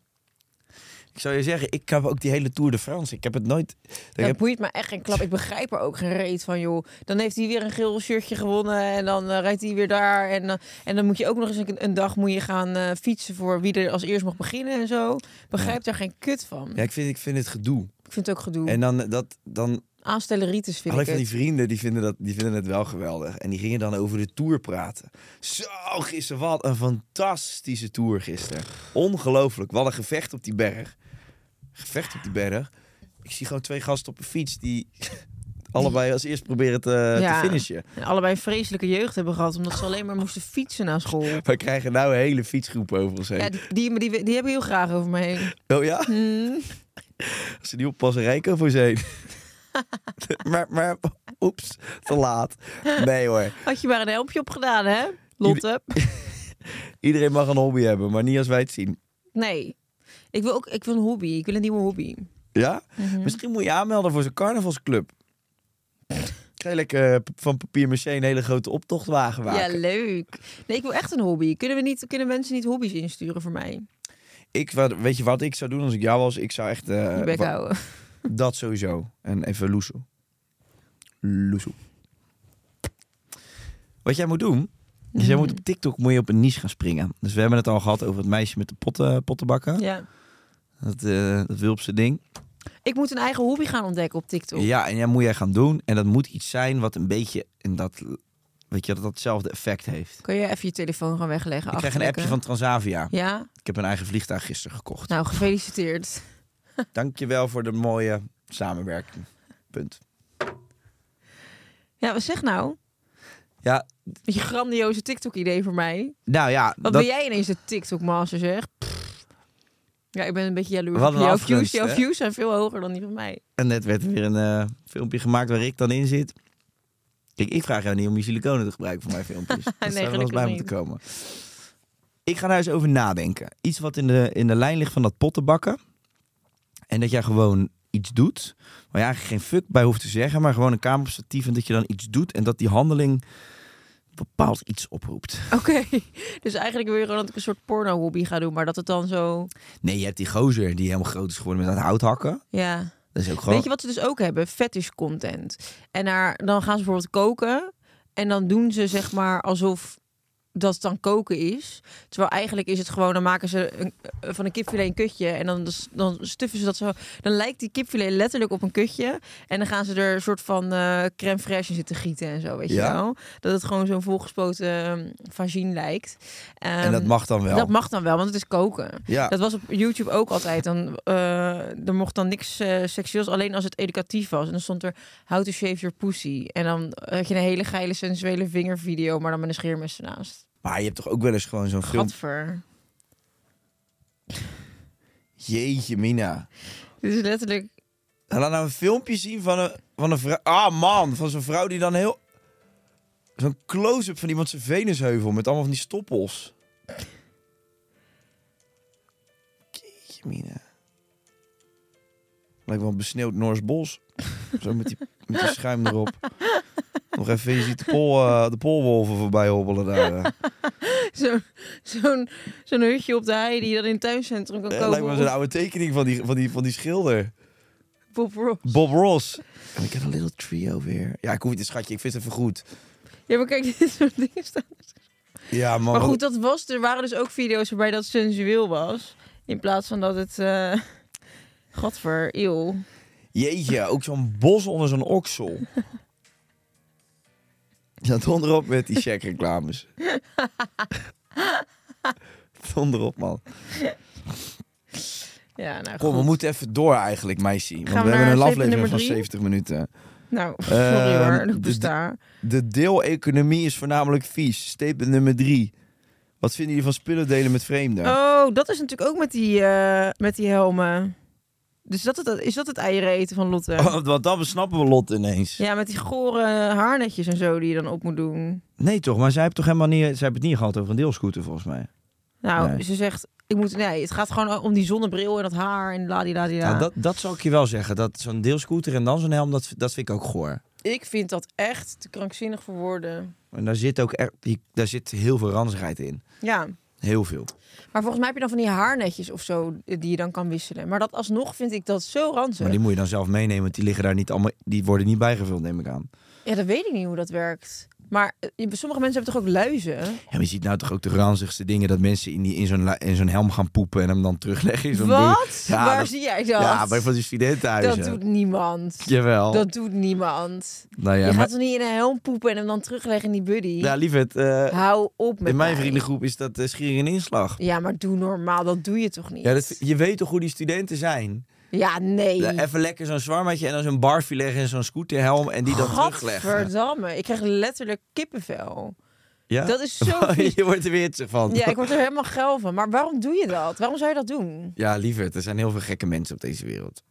Speaker 1: Ik zou je zeggen, ik heb ook die hele Tour de France. Ik heb het nooit. Ik
Speaker 5: Dat
Speaker 1: heb-
Speaker 5: boeit me echt geen klap. Ik begrijp er ook geen reet van, joh. Dan heeft hij weer een geel shirtje gewonnen en dan eh, rijdt hij weer daar. En, dan- en dan moet je ook nog eens een, een dag moet je gaan eh, fietsen voor wie er als eerst mag beginnen en zo. Begrijp daar geen kut van.
Speaker 1: ja, ik vind, ik vind het gedoe.
Speaker 5: Ik vind het ook gedoe.
Speaker 1: En dan, eh, dat, dan
Speaker 5: Aanstelleritis vind
Speaker 1: Alleen
Speaker 5: ik
Speaker 1: van die
Speaker 5: het.
Speaker 1: vrienden, die vinden, dat, die vinden het wel geweldig. En die gingen dan over de tour praten. Zo, gisteren, wat een fantastische tour gisteren. Ongelooflijk, wat een gevecht op die berg. Gevecht op die berg. Ik zie gewoon twee gasten op een fiets die allebei als eerst proberen te,
Speaker 5: Ja.
Speaker 1: te finishen.
Speaker 5: En allebei een vreselijke jeugd hebben gehad, omdat ze alleen maar moesten fietsen naar school.
Speaker 1: We krijgen nou een hele fietsgroep over ons heen.
Speaker 5: Ja, die, die, die, die heb ik heel graag over me heen.
Speaker 1: Oh ja? Als ze die oppassen, Rijko voor zijn. maar, maar, oeps, te laat. Nee hoor.
Speaker 5: Had je maar een helmpje op gedaan, hè? Lotte.
Speaker 1: Iedereen mag een hobby hebben, maar niet als wij het zien.
Speaker 5: Nee. Ik wil ook ik wil een hobby. Ik wil een nieuwe hobby.
Speaker 1: Ja?
Speaker 5: Mhm.
Speaker 1: Misschien moet je aanmelden voor zo'n carnavalsclub. Krijg je lekker eh, p- van papier maché een hele grote optochtwagen
Speaker 5: Ja,
Speaker 1: maken.
Speaker 5: leuk. Nee, ik wil echt een hobby. Kunnen, we niet, kunnen mensen niet hobby's insturen voor mij?
Speaker 1: ik, wat- weet je wat ik zou doen als ik jou was? Ik zou echt... eh,
Speaker 5: Die bek
Speaker 1: wa-
Speaker 5: houden.
Speaker 1: dat sowieso. En even loesoe. Loesoe. Wat jij moet doen... is jij moet
Speaker 5: Mhm.
Speaker 1: op TikTok moet je op een niche gaan springen. Dus we hebben het al gehad over het meisje met de potten, pottenbakken.
Speaker 5: Ja.
Speaker 1: Dat, eh dat Wilpse ding.
Speaker 5: Ik moet een eigen hobby gaan ontdekken op TikTok.
Speaker 1: Ja, en dat moet jij gaan doen. En dat moet iets zijn wat een beetje in dat, weet je, dat datzelfde effect heeft.
Speaker 5: Kun je even je telefoon gaan wegleggen?
Speaker 1: Ik krijg een
Speaker 5: achterlijke?
Speaker 1: appje van Transavia.
Speaker 5: Ja?
Speaker 1: Ik heb een eigen vliegtuig gisteren gekocht.
Speaker 5: Nou, gefeliciteerd.
Speaker 1: Dankjewel voor de mooie samenwerking. Punt.
Speaker 5: Ja, wat zeg nou?
Speaker 1: Ja,
Speaker 5: Met je grandioze TikTok-idee voor mij.
Speaker 1: nou ja.
Speaker 5: Wat
Speaker 1: dat-
Speaker 5: ben jij ineens de TikTok-master, zeg? Pff. Ja, ik ben een beetje jaloers.
Speaker 1: Wat
Speaker 5: op
Speaker 1: een
Speaker 5: jouw
Speaker 1: afgunst,
Speaker 5: views, jouw
Speaker 1: hè?
Speaker 5: views zijn veel hoger dan die van mij.
Speaker 1: En net werd er weer een eh, filmpje gemaakt waar ik dan in zit. Kijk, ik vraag jou niet om je siliconen te gebruiken voor mijn filmpjes. Dat zou er wel eens
Speaker 5: gelukkig
Speaker 1: bij
Speaker 5: niet.
Speaker 1: moeten komen. Ik ga daar eens over nadenken. Iets wat in de, in de lijn ligt van dat pottenbakken. En dat jij gewoon iets doet. Waar je eigenlijk geen fuck bij hoeft te zeggen. Maar gewoon een kamer op statief en dat je dan iets doet. En dat die handeling bepaald iets oproept.
Speaker 5: Oké, dus eigenlijk wil je gewoon dat ik een soort porno-hobby ga doen, maar dat het dan zo...
Speaker 1: Nee, je hebt die gozer die helemaal groot is geworden met dat houthakken.
Speaker 5: Ja.
Speaker 1: Dat is ook gewoon...
Speaker 5: Weet je wat ze dus ook hebben? Fetish content. En daar, dan gaan ze bijvoorbeeld koken. En dan doen ze zeg maar alsof dat dan koken is. Terwijl eigenlijk is het gewoon, dan maken ze een, eh, van een kipfilet een kutje. En dan, dus, dan stuffen ze dat zo. Dan lijkt die kipfilet letterlijk op een kutje. En dan gaan ze er een soort van eh crème fraîche in zitten gieten en zo, weet
Speaker 1: Ja.
Speaker 5: je wel. Dat het gewoon zo'n volgespoten um, vagine lijkt.
Speaker 1: En dat
Speaker 5: Ehm,
Speaker 1: mag dan wel.
Speaker 5: dat mag dan wel, want het is koken.
Speaker 1: Ja.
Speaker 5: Dat was op YouTube ook altijd. Dan, eh, er mocht dan niks eh, seksueels, alleen als het educatief was. En dan stond er how to shave your pussy. En dan had je een hele geile sensuele vingervideo, maar dan met een scheermes ernaast.
Speaker 1: Maar je hebt toch ook wel eens gewoon zo'n film...
Speaker 5: Gadver.
Speaker 1: Jeetje, Mina.
Speaker 5: Dit is letterlijk...
Speaker 1: En laat nou een filmpje zien van een, van een vrouw. Ah man, van zo'n vrouw die dan heel. Zo'n close-up van iemand zijn venusheuvel met allemaal van die stoppels. Jeetje, mina. Lijkt wel een besneeuwd Noors bos. Zo met die, met die schuim erop. Nog even, je ziet de, pol, eh, de polwolven voorbij hobbelen daar. eh.
Speaker 5: Zo'n zo'n zo'n hutje op de hei die je dan in het tuincentrum kan
Speaker 1: Eh,
Speaker 5: kopen.
Speaker 1: lijkt wel zo'n oude tekening van die, van, die, van die schilder.
Speaker 5: Bob Ross.
Speaker 1: Bob Ross. En ik heb een little trio weer. Ja, ik hoef het schatje, ik vind het even goed.
Speaker 5: Ja, maar kijk, dit soort dingen staan.
Speaker 1: Ja, man.
Speaker 5: Maar
Speaker 1: Oh, wat-
Speaker 5: goed, dat was, er waren dus ook video's waarbij dat sensueel was. In plaats van dat het... eh Gadver, eeuw.
Speaker 1: Jeetje, ook zo'n bos onder zo'n oksel. Ja, donderop met die check reclames. donderop, man.
Speaker 5: Ja, nou
Speaker 1: Kom, we
Speaker 5: goed.
Speaker 1: moeten even door eigenlijk, meisje. Want
Speaker 5: Gaan
Speaker 1: we
Speaker 5: we
Speaker 1: hebben
Speaker 5: naar
Speaker 1: een
Speaker 5: statement
Speaker 1: aflevering
Speaker 5: nummer
Speaker 1: van
Speaker 5: drie?
Speaker 1: 70 minuten.
Speaker 5: Nou, sorry
Speaker 1: Ehm,
Speaker 5: hoor,
Speaker 1: de-
Speaker 5: dat besta.
Speaker 1: De deeleconomie is voornamelijk vies. Statement nummer drie. Wat vinden jullie van spullen delen met vreemden?
Speaker 5: Oh, dat is natuurlijk ook met die, eh, met die helmen. Dus dat het, is dat het eieren eten van Lotte?
Speaker 1: Oh, Want dan besnappen we Lot ineens.
Speaker 5: Ja, met die gore haarnetjes en zo die je dan op moet doen.
Speaker 1: Nee toch, maar zij hebben, toch helemaal niet, zij hebben het niet gehad over een deelscooter volgens mij.
Speaker 5: Nou,
Speaker 1: Nee.
Speaker 5: ze zegt, ik moet, nee, het gaat gewoon om die zonnebril en dat haar en ladidadida.
Speaker 1: Nou, dat, dat zal ik je wel zeggen. Dat zo'n deelscooter en dan zo'n helm, dat, dat vind ik ook goor.
Speaker 5: Ik vind dat echt te krankzinnig voor woorden.
Speaker 1: En daar zit ook echt, die- daar zit heel veel ranzigheid in.
Speaker 5: Ja,
Speaker 1: Heel veel.
Speaker 5: maar volgens mij heb je dan van die haarnetjes of zo eh, die je dan kan wisselen. Maar dat alsnog vind ik dat zo ranzig.
Speaker 1: Maar die moet je dan zelf meenemen, want die liggen daar niet allemaal, die worden niet bijgevuld, neem ik aan.
Speaker 5: Ja, dat weet ik niet hoe dat werkt. Maar eh, sommige mensen hebben toch ook luizen?
Speaker 1: Ja, maar je ziet nou toch ook de ranzigste dingen dat mensen in, die, in, zo'n, la- in zo'n helm gaan poepen en hem dan terugleggen in zo'n
Speaker 5: Wat?
Speaker 1: broek. Ja,
Speaker 5: Waar
Speaker 1: dat-
Speaker 5: zie jij dat?
Speaker 1: Ja, bij van die studentenhuizen.
Speaker 5: dat doet niemand.
Speaker 1: Jawel.
Speaker 5: Dat doet niemand.
Speaker 1: nou ja,
Speaker 5: je
Speaker 1: maar,
Speaker 5: gaat toch niet in een helm poepen en hem dan terugleggen in die buddy?
Speaker 1: ja lieverd, eh,
Speaker 5: Hou op met
Speaker 1: in mijn
Speaker 5: mij.
Speaker 1: vriendengroep is dat eh, schiering en inslag.
Speaker 5: Ja, maar doe normaal. Dat doe je toch niet?
Speaker 1: Ja, dat, je weet toch hoe die studenten zijn?
Speaker 5: Ja, nee.
Speaker 1: Ja, even lekker zo'n zwarmatje en dan zo'n barfie leggen en zo'n scooterhelm en die dan terugleggen.
Speaker 5: Gadverdamme. Ik krijg letterlijk kippenvel.
Speaker 1: Ja? Oh,
Speaker 5: dat is zo vies.
Speaker 1: je wordt er weer hitsig van.
Speaker 5: Ja, ik word er helemaal geil van. Maar waarom doe je dat? Waarom zou je dat doen?
Speaker 1: Ja, lieverd, er zijn heel veel gekke mensen op deze wereld.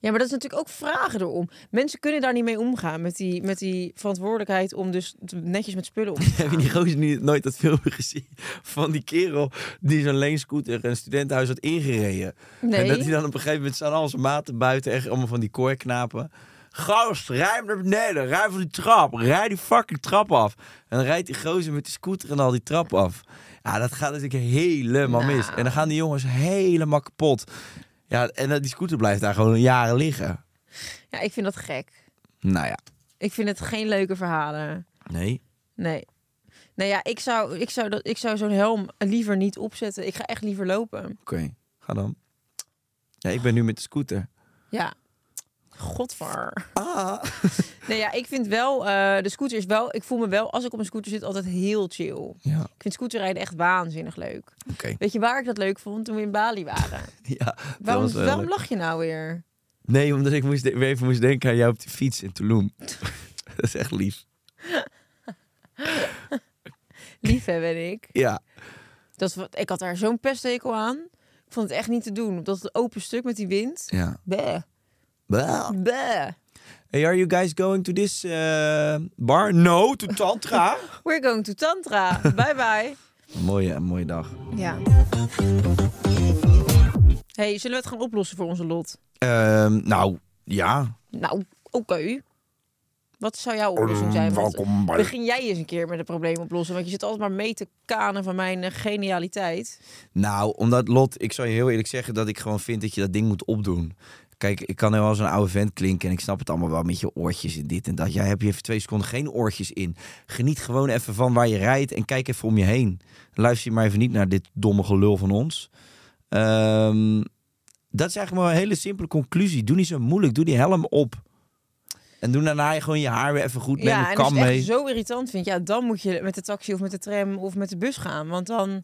Speaker 5: Ja, maar dat is natuurlijk ook vragen erom. Mensen kunnen daar niet mee omgaan met die, met die verantwoordelijkheid om dus te- netjes met spullen om te
Speaker 1: Heb je die gozer niet, nooit dat filmpje gezien? Van die kerel die zo'n leenscooter een studentenhuis had ingereden.
Speaker 5: Nee.
Speaker 1: En dat hij dan op een gegeven moment staan al zijn maten buiten. Echt allemaal van die koorknapen. Gast, rij naar beneden. Rij van die trap. Rij die fucking trap af. En dan rijdt die gozer met die scooter en al die trap af. Ja, dat gaat natuurlijk helemaal mis. En dan gaan die jongens helemaal kapot. Ja, en dat- die scooter blijft daar gewoon jaren liggen.
Speaker 5: Ja, ik vind dat gek.
Speaker 1: Nou ja,
Speaker 5: Ik vind het geen leuke verhalen.
Speaker 1: nee.
Speaker 5: Nee. Nee, ja, ik zou, ik zou, dat, ik zou zo'n helm liever niet opzetten. Ik ga echt liever lopen.
Speaker 1: Oké, ga dan. Ja, ik ben nu met de scooter.
Speaker 5: Ja. Godver. Nee, ja, ik vind wel, eh, de scooter is wel, ik voel me wel, als ik op een scooter zit, altijd heel chill.
Speaker 1: Ja,
Speaker 5: Ik vind scooterrijden echt waanzinnig leuk.
Speaker 1: oké.
Speaker 5: Weet je waar ik dat leuk vond? Toen we in Bali waren.
Speaker 1: Ja,
Speaker 5: Waarom, waarom lach je nou weer?
Speaker 1: Nee, omdat ik moest de- weer even moest denken aan jou op die fiets in Tulum. dat is echt lief.
Speaker 5: Lief hè, ben ik.
Speaker 1: Ja.
Speaker 5: Dat, we- ik had daar zo'n pesthekel aan. Ik vond het echt niet te doen. Dat het open stuk met die wind.
Speaker 1: ja.
Speaker 5: Bleh.
Speaker 1: Bah.
Speaker 5: Bleh.
Speaker 1: Hey, are you guys going to this eh, bar? No, to Tantra.
Speaker 5: We're going to Tantra. bye bye.
Speaker 1: Een mooie, een mooie dag.
Speaker 5: Ja. Hey, zullen we het gaan oplossen voor onze lot?
Speaker 1: Ehm, nou, ja.
Speaker 5: Nou, oké. Wat zou jouw oplossing zijn? Want
Speaker 1: welkom bij-
Speaker 5: Begin jij eens een keer met een probleem oplossen. Want je zit altijd maar mee te kanen van mijn eh, genialiteit.
Speaker 1: Nou, omdat Lot, ik zal je heel eerlijk zeggen dat ik gewoon vind dat je dat ding moet opdoen. Kijk, ik kan heel wel zo'n oude vent klinken en ik snap het allemaal wel met je oortjes en dit en dat. Jij hebt je even twee seconden geen oortjes in. Geniet gewoon even van waar je rijdt en kijk even om je heen. Luister je maar even niet naar dit domme gelul van ons. Ehm, dat is eigenlijk maar een hele simpele conclusie. Doe niet zo moeilijk, doe die helm op. En doe daarna je gewoon je haar weer even goed mee,
Speaker 5: ja,
Speaker 1: een
Speaker 5: en als
Speaker 1: kam
Speaker 5: je het
Speaker 1: mee.
Speaker 5: echt zo irritant vindt, ja, dan moet je met de taxi of met de tram of met de bus gaan. Want dan,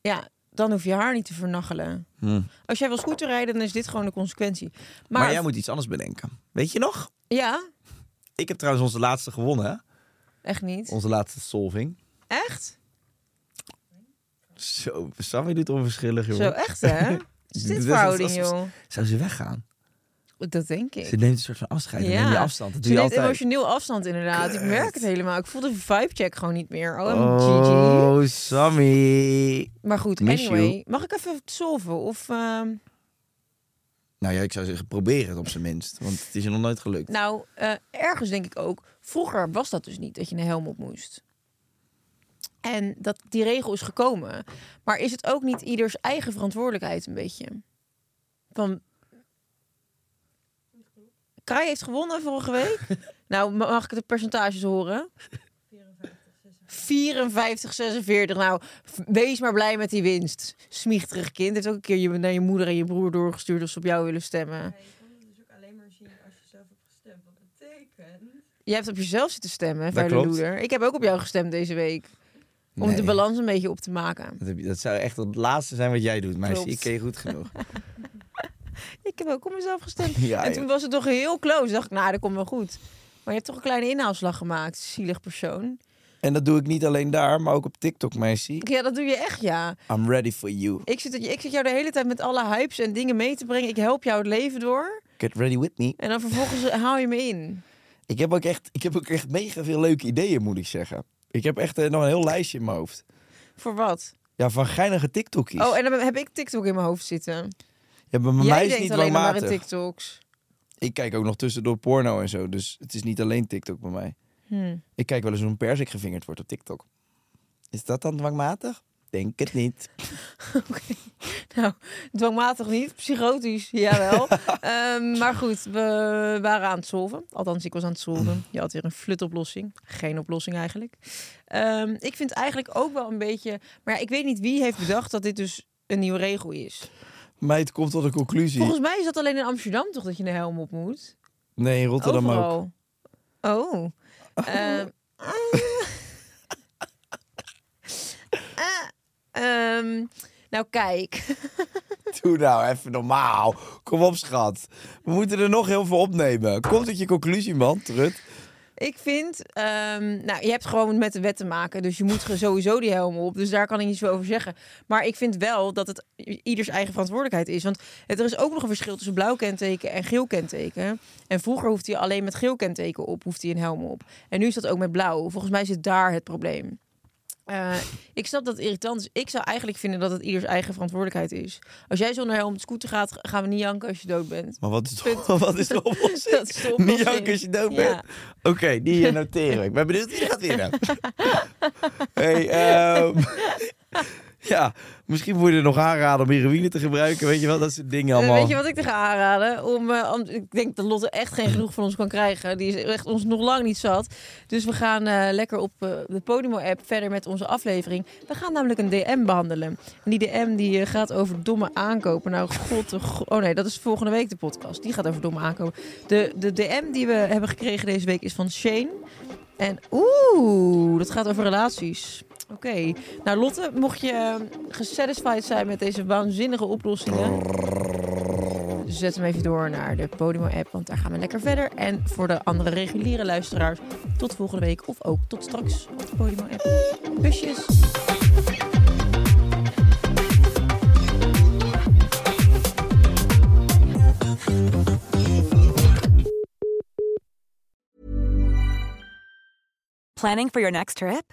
Speaker 5: ja, dan hoef je haar niet te vernachelen.
Speaker 1: Hmm.
Speaker 5: Als jij wil scooterrijden, dan is dit gewoon de consequentie. Maar,
Speaker 1: Maar, jij moet iets anders bedenken. Weet je nog?
Speaker 5: Ja,
Speaker 1: Ik heb trouwens onze laatste gewonnen, hè?
Speaker 5: echt niet.
Speaker 1: Onze laatste solving.
Speaker 5: Echt?
Speaker 1: Zo, Sammy doet onverschillig, joh.
Speaker 5: Zo, echt hè? Wat Is
Speaker 1: Dit
Speaker 5: dit
Speaker 1: is
Speaker 5: verhouding,
Speaker 1: als- als-
Speaker 5: joh?
Speaker 1: Zou ze weggaan?
Speaker 5: Dat denk ik.
Speaker 1: Ze neemt een soort van afscheid. Ja. Neem je afstand. Dat
Speaker 5: Ze
Speaker 1: doe je
Speaker 5: neemt
Speaker 1: altijd.
Speaker 5: emotioneel afstand inderdaad. Ik merk het helemaal. Ik voel de vibe-check gewoon niet meer. Oh, GG.
Speaker 1: Oh, Sammy.
Speaker 5: Maar goed,
Speaker 1: miss
Speaker 5: anyway.
Speaker 1: you.
Speaker 5: Mag ik even solven? Of, ehm,
Speaker 1: Nou ja, ik zou zeggen, probeer het op zijn minst. Want het is je nog nooit gelukt.
Speaker 5: nou, eh, ergens denk ik ook. Vroeger was dat dus niet, dat je een helm op moest. En dat, die regel is gekomen. Maar is het ook niet ieders eigen verantwoordelijkheid een beetje? Van... Kai heeft gewonnen vorige week. nou, ma- mag ik de percentages horen? 54, 46. Nou, f- wees maar blij met die winst. Smiechterig kind. Heeft ook een keer je, naar je moeder en je broer doorgestuurd of ze op jou willen stemmen. Je hebt op jezelf zitten stemmen, vuile
Speaker 1: klopt.
Speaker 5: loeder. Ik heb ook op jou gestemd deze week. Om
Speaker 1: Nee.
Speaker 5: de balans een beetje op te maken.
Speaker 1: Dat, heb je- dat zou echt het laatste zijn wat jij doet, meisje.
Speaker 5: Klopt.
Speaker 1: Ik ken je goed genoeg.
Speaker 5: Ik heb ook op mezelf gestemd.
Speaker 1: Ja,
Speaker 5: en
Speaker 1: ja.
Speaker 5: toen was het toch heel close. Toen dacht ik, nou, dat komt wel goed. Maar je hebt toch een kleine inhaalslag gemaakt, zielig persoon.
Speaker 1: en dat doe ik niet alleen daar, maar ook op TikTok, meisje.
Speaker 5: Ja, dat doe je echt, ja.
Speaker 1: I'm ready for you.
Speaker 5: Ik zit, ik zit jou de hele tijd met alle hypes en dingen mee te brengen. Ik help jou het leven door.
Speaker 1: Get ready with me.
Speaker 5: En dan vervolgens haal je me in.
Speaker 1: Ik heb ook echt, ik heb ook echt mega veel leuke ideeën, moet ik zeggen. Ik heb echt eh, nog een heel lijstje in mijn hoofd.
Speaker 5: Voor wat?
Speaker 1: Ja, van geinige TikTokies.
Speaker 5: Oh, en dan heb ik TikTok in mijn hoofd zitten.
Speaker 1: ja, bij mij
Speaker 5: Jij
Speaker 1: is het
Speaker 5: denkt
Speaker 1: niet
Speaker 5: alleen nog maar in
Speaker 1: woonmatig.
Speaker 5: TikToks.
Speaker 1: ik kijk ook nog tussendoor porno en zo. Dus het is niet alleen TikTok bij mij.
Speaker 5: Hmm.
Speaker 1: Ik kijk wel eens hoe een persik gevingerd wordt op TikTok. Is dat dan dwangmatig? Denk het niet.
Speaker 5: Nou, dwangmatig niet, psychotisch, jawel. Ehm, maar goed, we waren aan het solven. Althans, ik was aan het solven. Je had weer een flutoplossing. Geen oplossing eigenlijk. Ehm, ik vind eigenlijk ook wel een beetje... Maar ja, ik weet niet wie heeft bedacht dat dit dus een nieuwe regel is.
Speaker 1: Meid komt tot een conclusie.
Speaker 5: Volgens mij is dat alleen in Amsterdam toch dat je een helm op moet?
Speaker 1: Nee, in Rotterdam ook.
Speaker 5: Overal. Oh. Ehm, ah. Ah. Ehm, nou, kijk.
Speaker 1: Doe nou even normaal. Kom op, schat. We moeten er nog heel veel opnemen. Komt tot je conclusie, man, Trut.
Speaker 3: Ik vind, ehm, nou, je hebt gewoon met de wet te maken, dus je moet ge- sowieso die helm op. Dus daar kan ik niet zo over zeggen. Maar ik vind wel dat het ieders eigen verantwoordelijkheid is. Want het, er is ook nog een verschil tussen blauw kenteken en geel kenteken. En vroeger hoefde hij alleen met geel kenteken op, hoeft hij een helm op. En nu is dat ook met blauw. Volgens mij zit daar het probleem. Eh, ik snap dat het irritant is. Ik zou eigenlijk vinden dat het ieders eigen verantwoordelijkheid is. Als jij zonder helm op de scooter gaat, gaan we niet janken als je dood bent.
Speaker 1: Maar wat is,
Speaker 3: Punt.
Speaker 1: wat is de oplossing?
Speaker 3: Dat is de
Speaker 1: Niet
Speaker 3: oplossing.
Speaker 1: janken als je dood
Speaker 3: Ja.
Speaker 1: bent. Oké, die eh, noteer ik. Ben benieuwd wie gaat winnen. hey, ehm, ja, misschien moet je er nog aanraden om heroïne te gebruiken. Weet je wel, dat soort dingen
Speaker 3: Eh,
Speaker 1: allemaal.
Speaker 3: Weet je wat ik te ga aanraden? Om, eh, am- ik denk dat Lotte echt geen genoeg van ons kan krijgen. Die is echt ons nog lang niet zat. Dus we gaan eh, lekker op eh, de Podimo-app verder met onze aflevering. We gaan namelijk een DM behandelen. En die DM die, eh, gaat over domme aankopen. Nou, god, de go- oh nee, dat is volgende week de podcast. Die gaat over domme aankopen. De, de DM die we hebben gekregen deze week is van Shane. En oeh, dat gaat over relaties. Oké, nou Lotte, mocht je eh, gesatisfied zijn met deze waanzinnige oplossingen, zet hem even door naar de Podimo-app, want daar gaan we lekker verder. En voor de andere reguliere luisteraars, tot volgende week of ook tot straks op de Podimo-app. Kusjes!
Speaker 5: Planning for your next trip?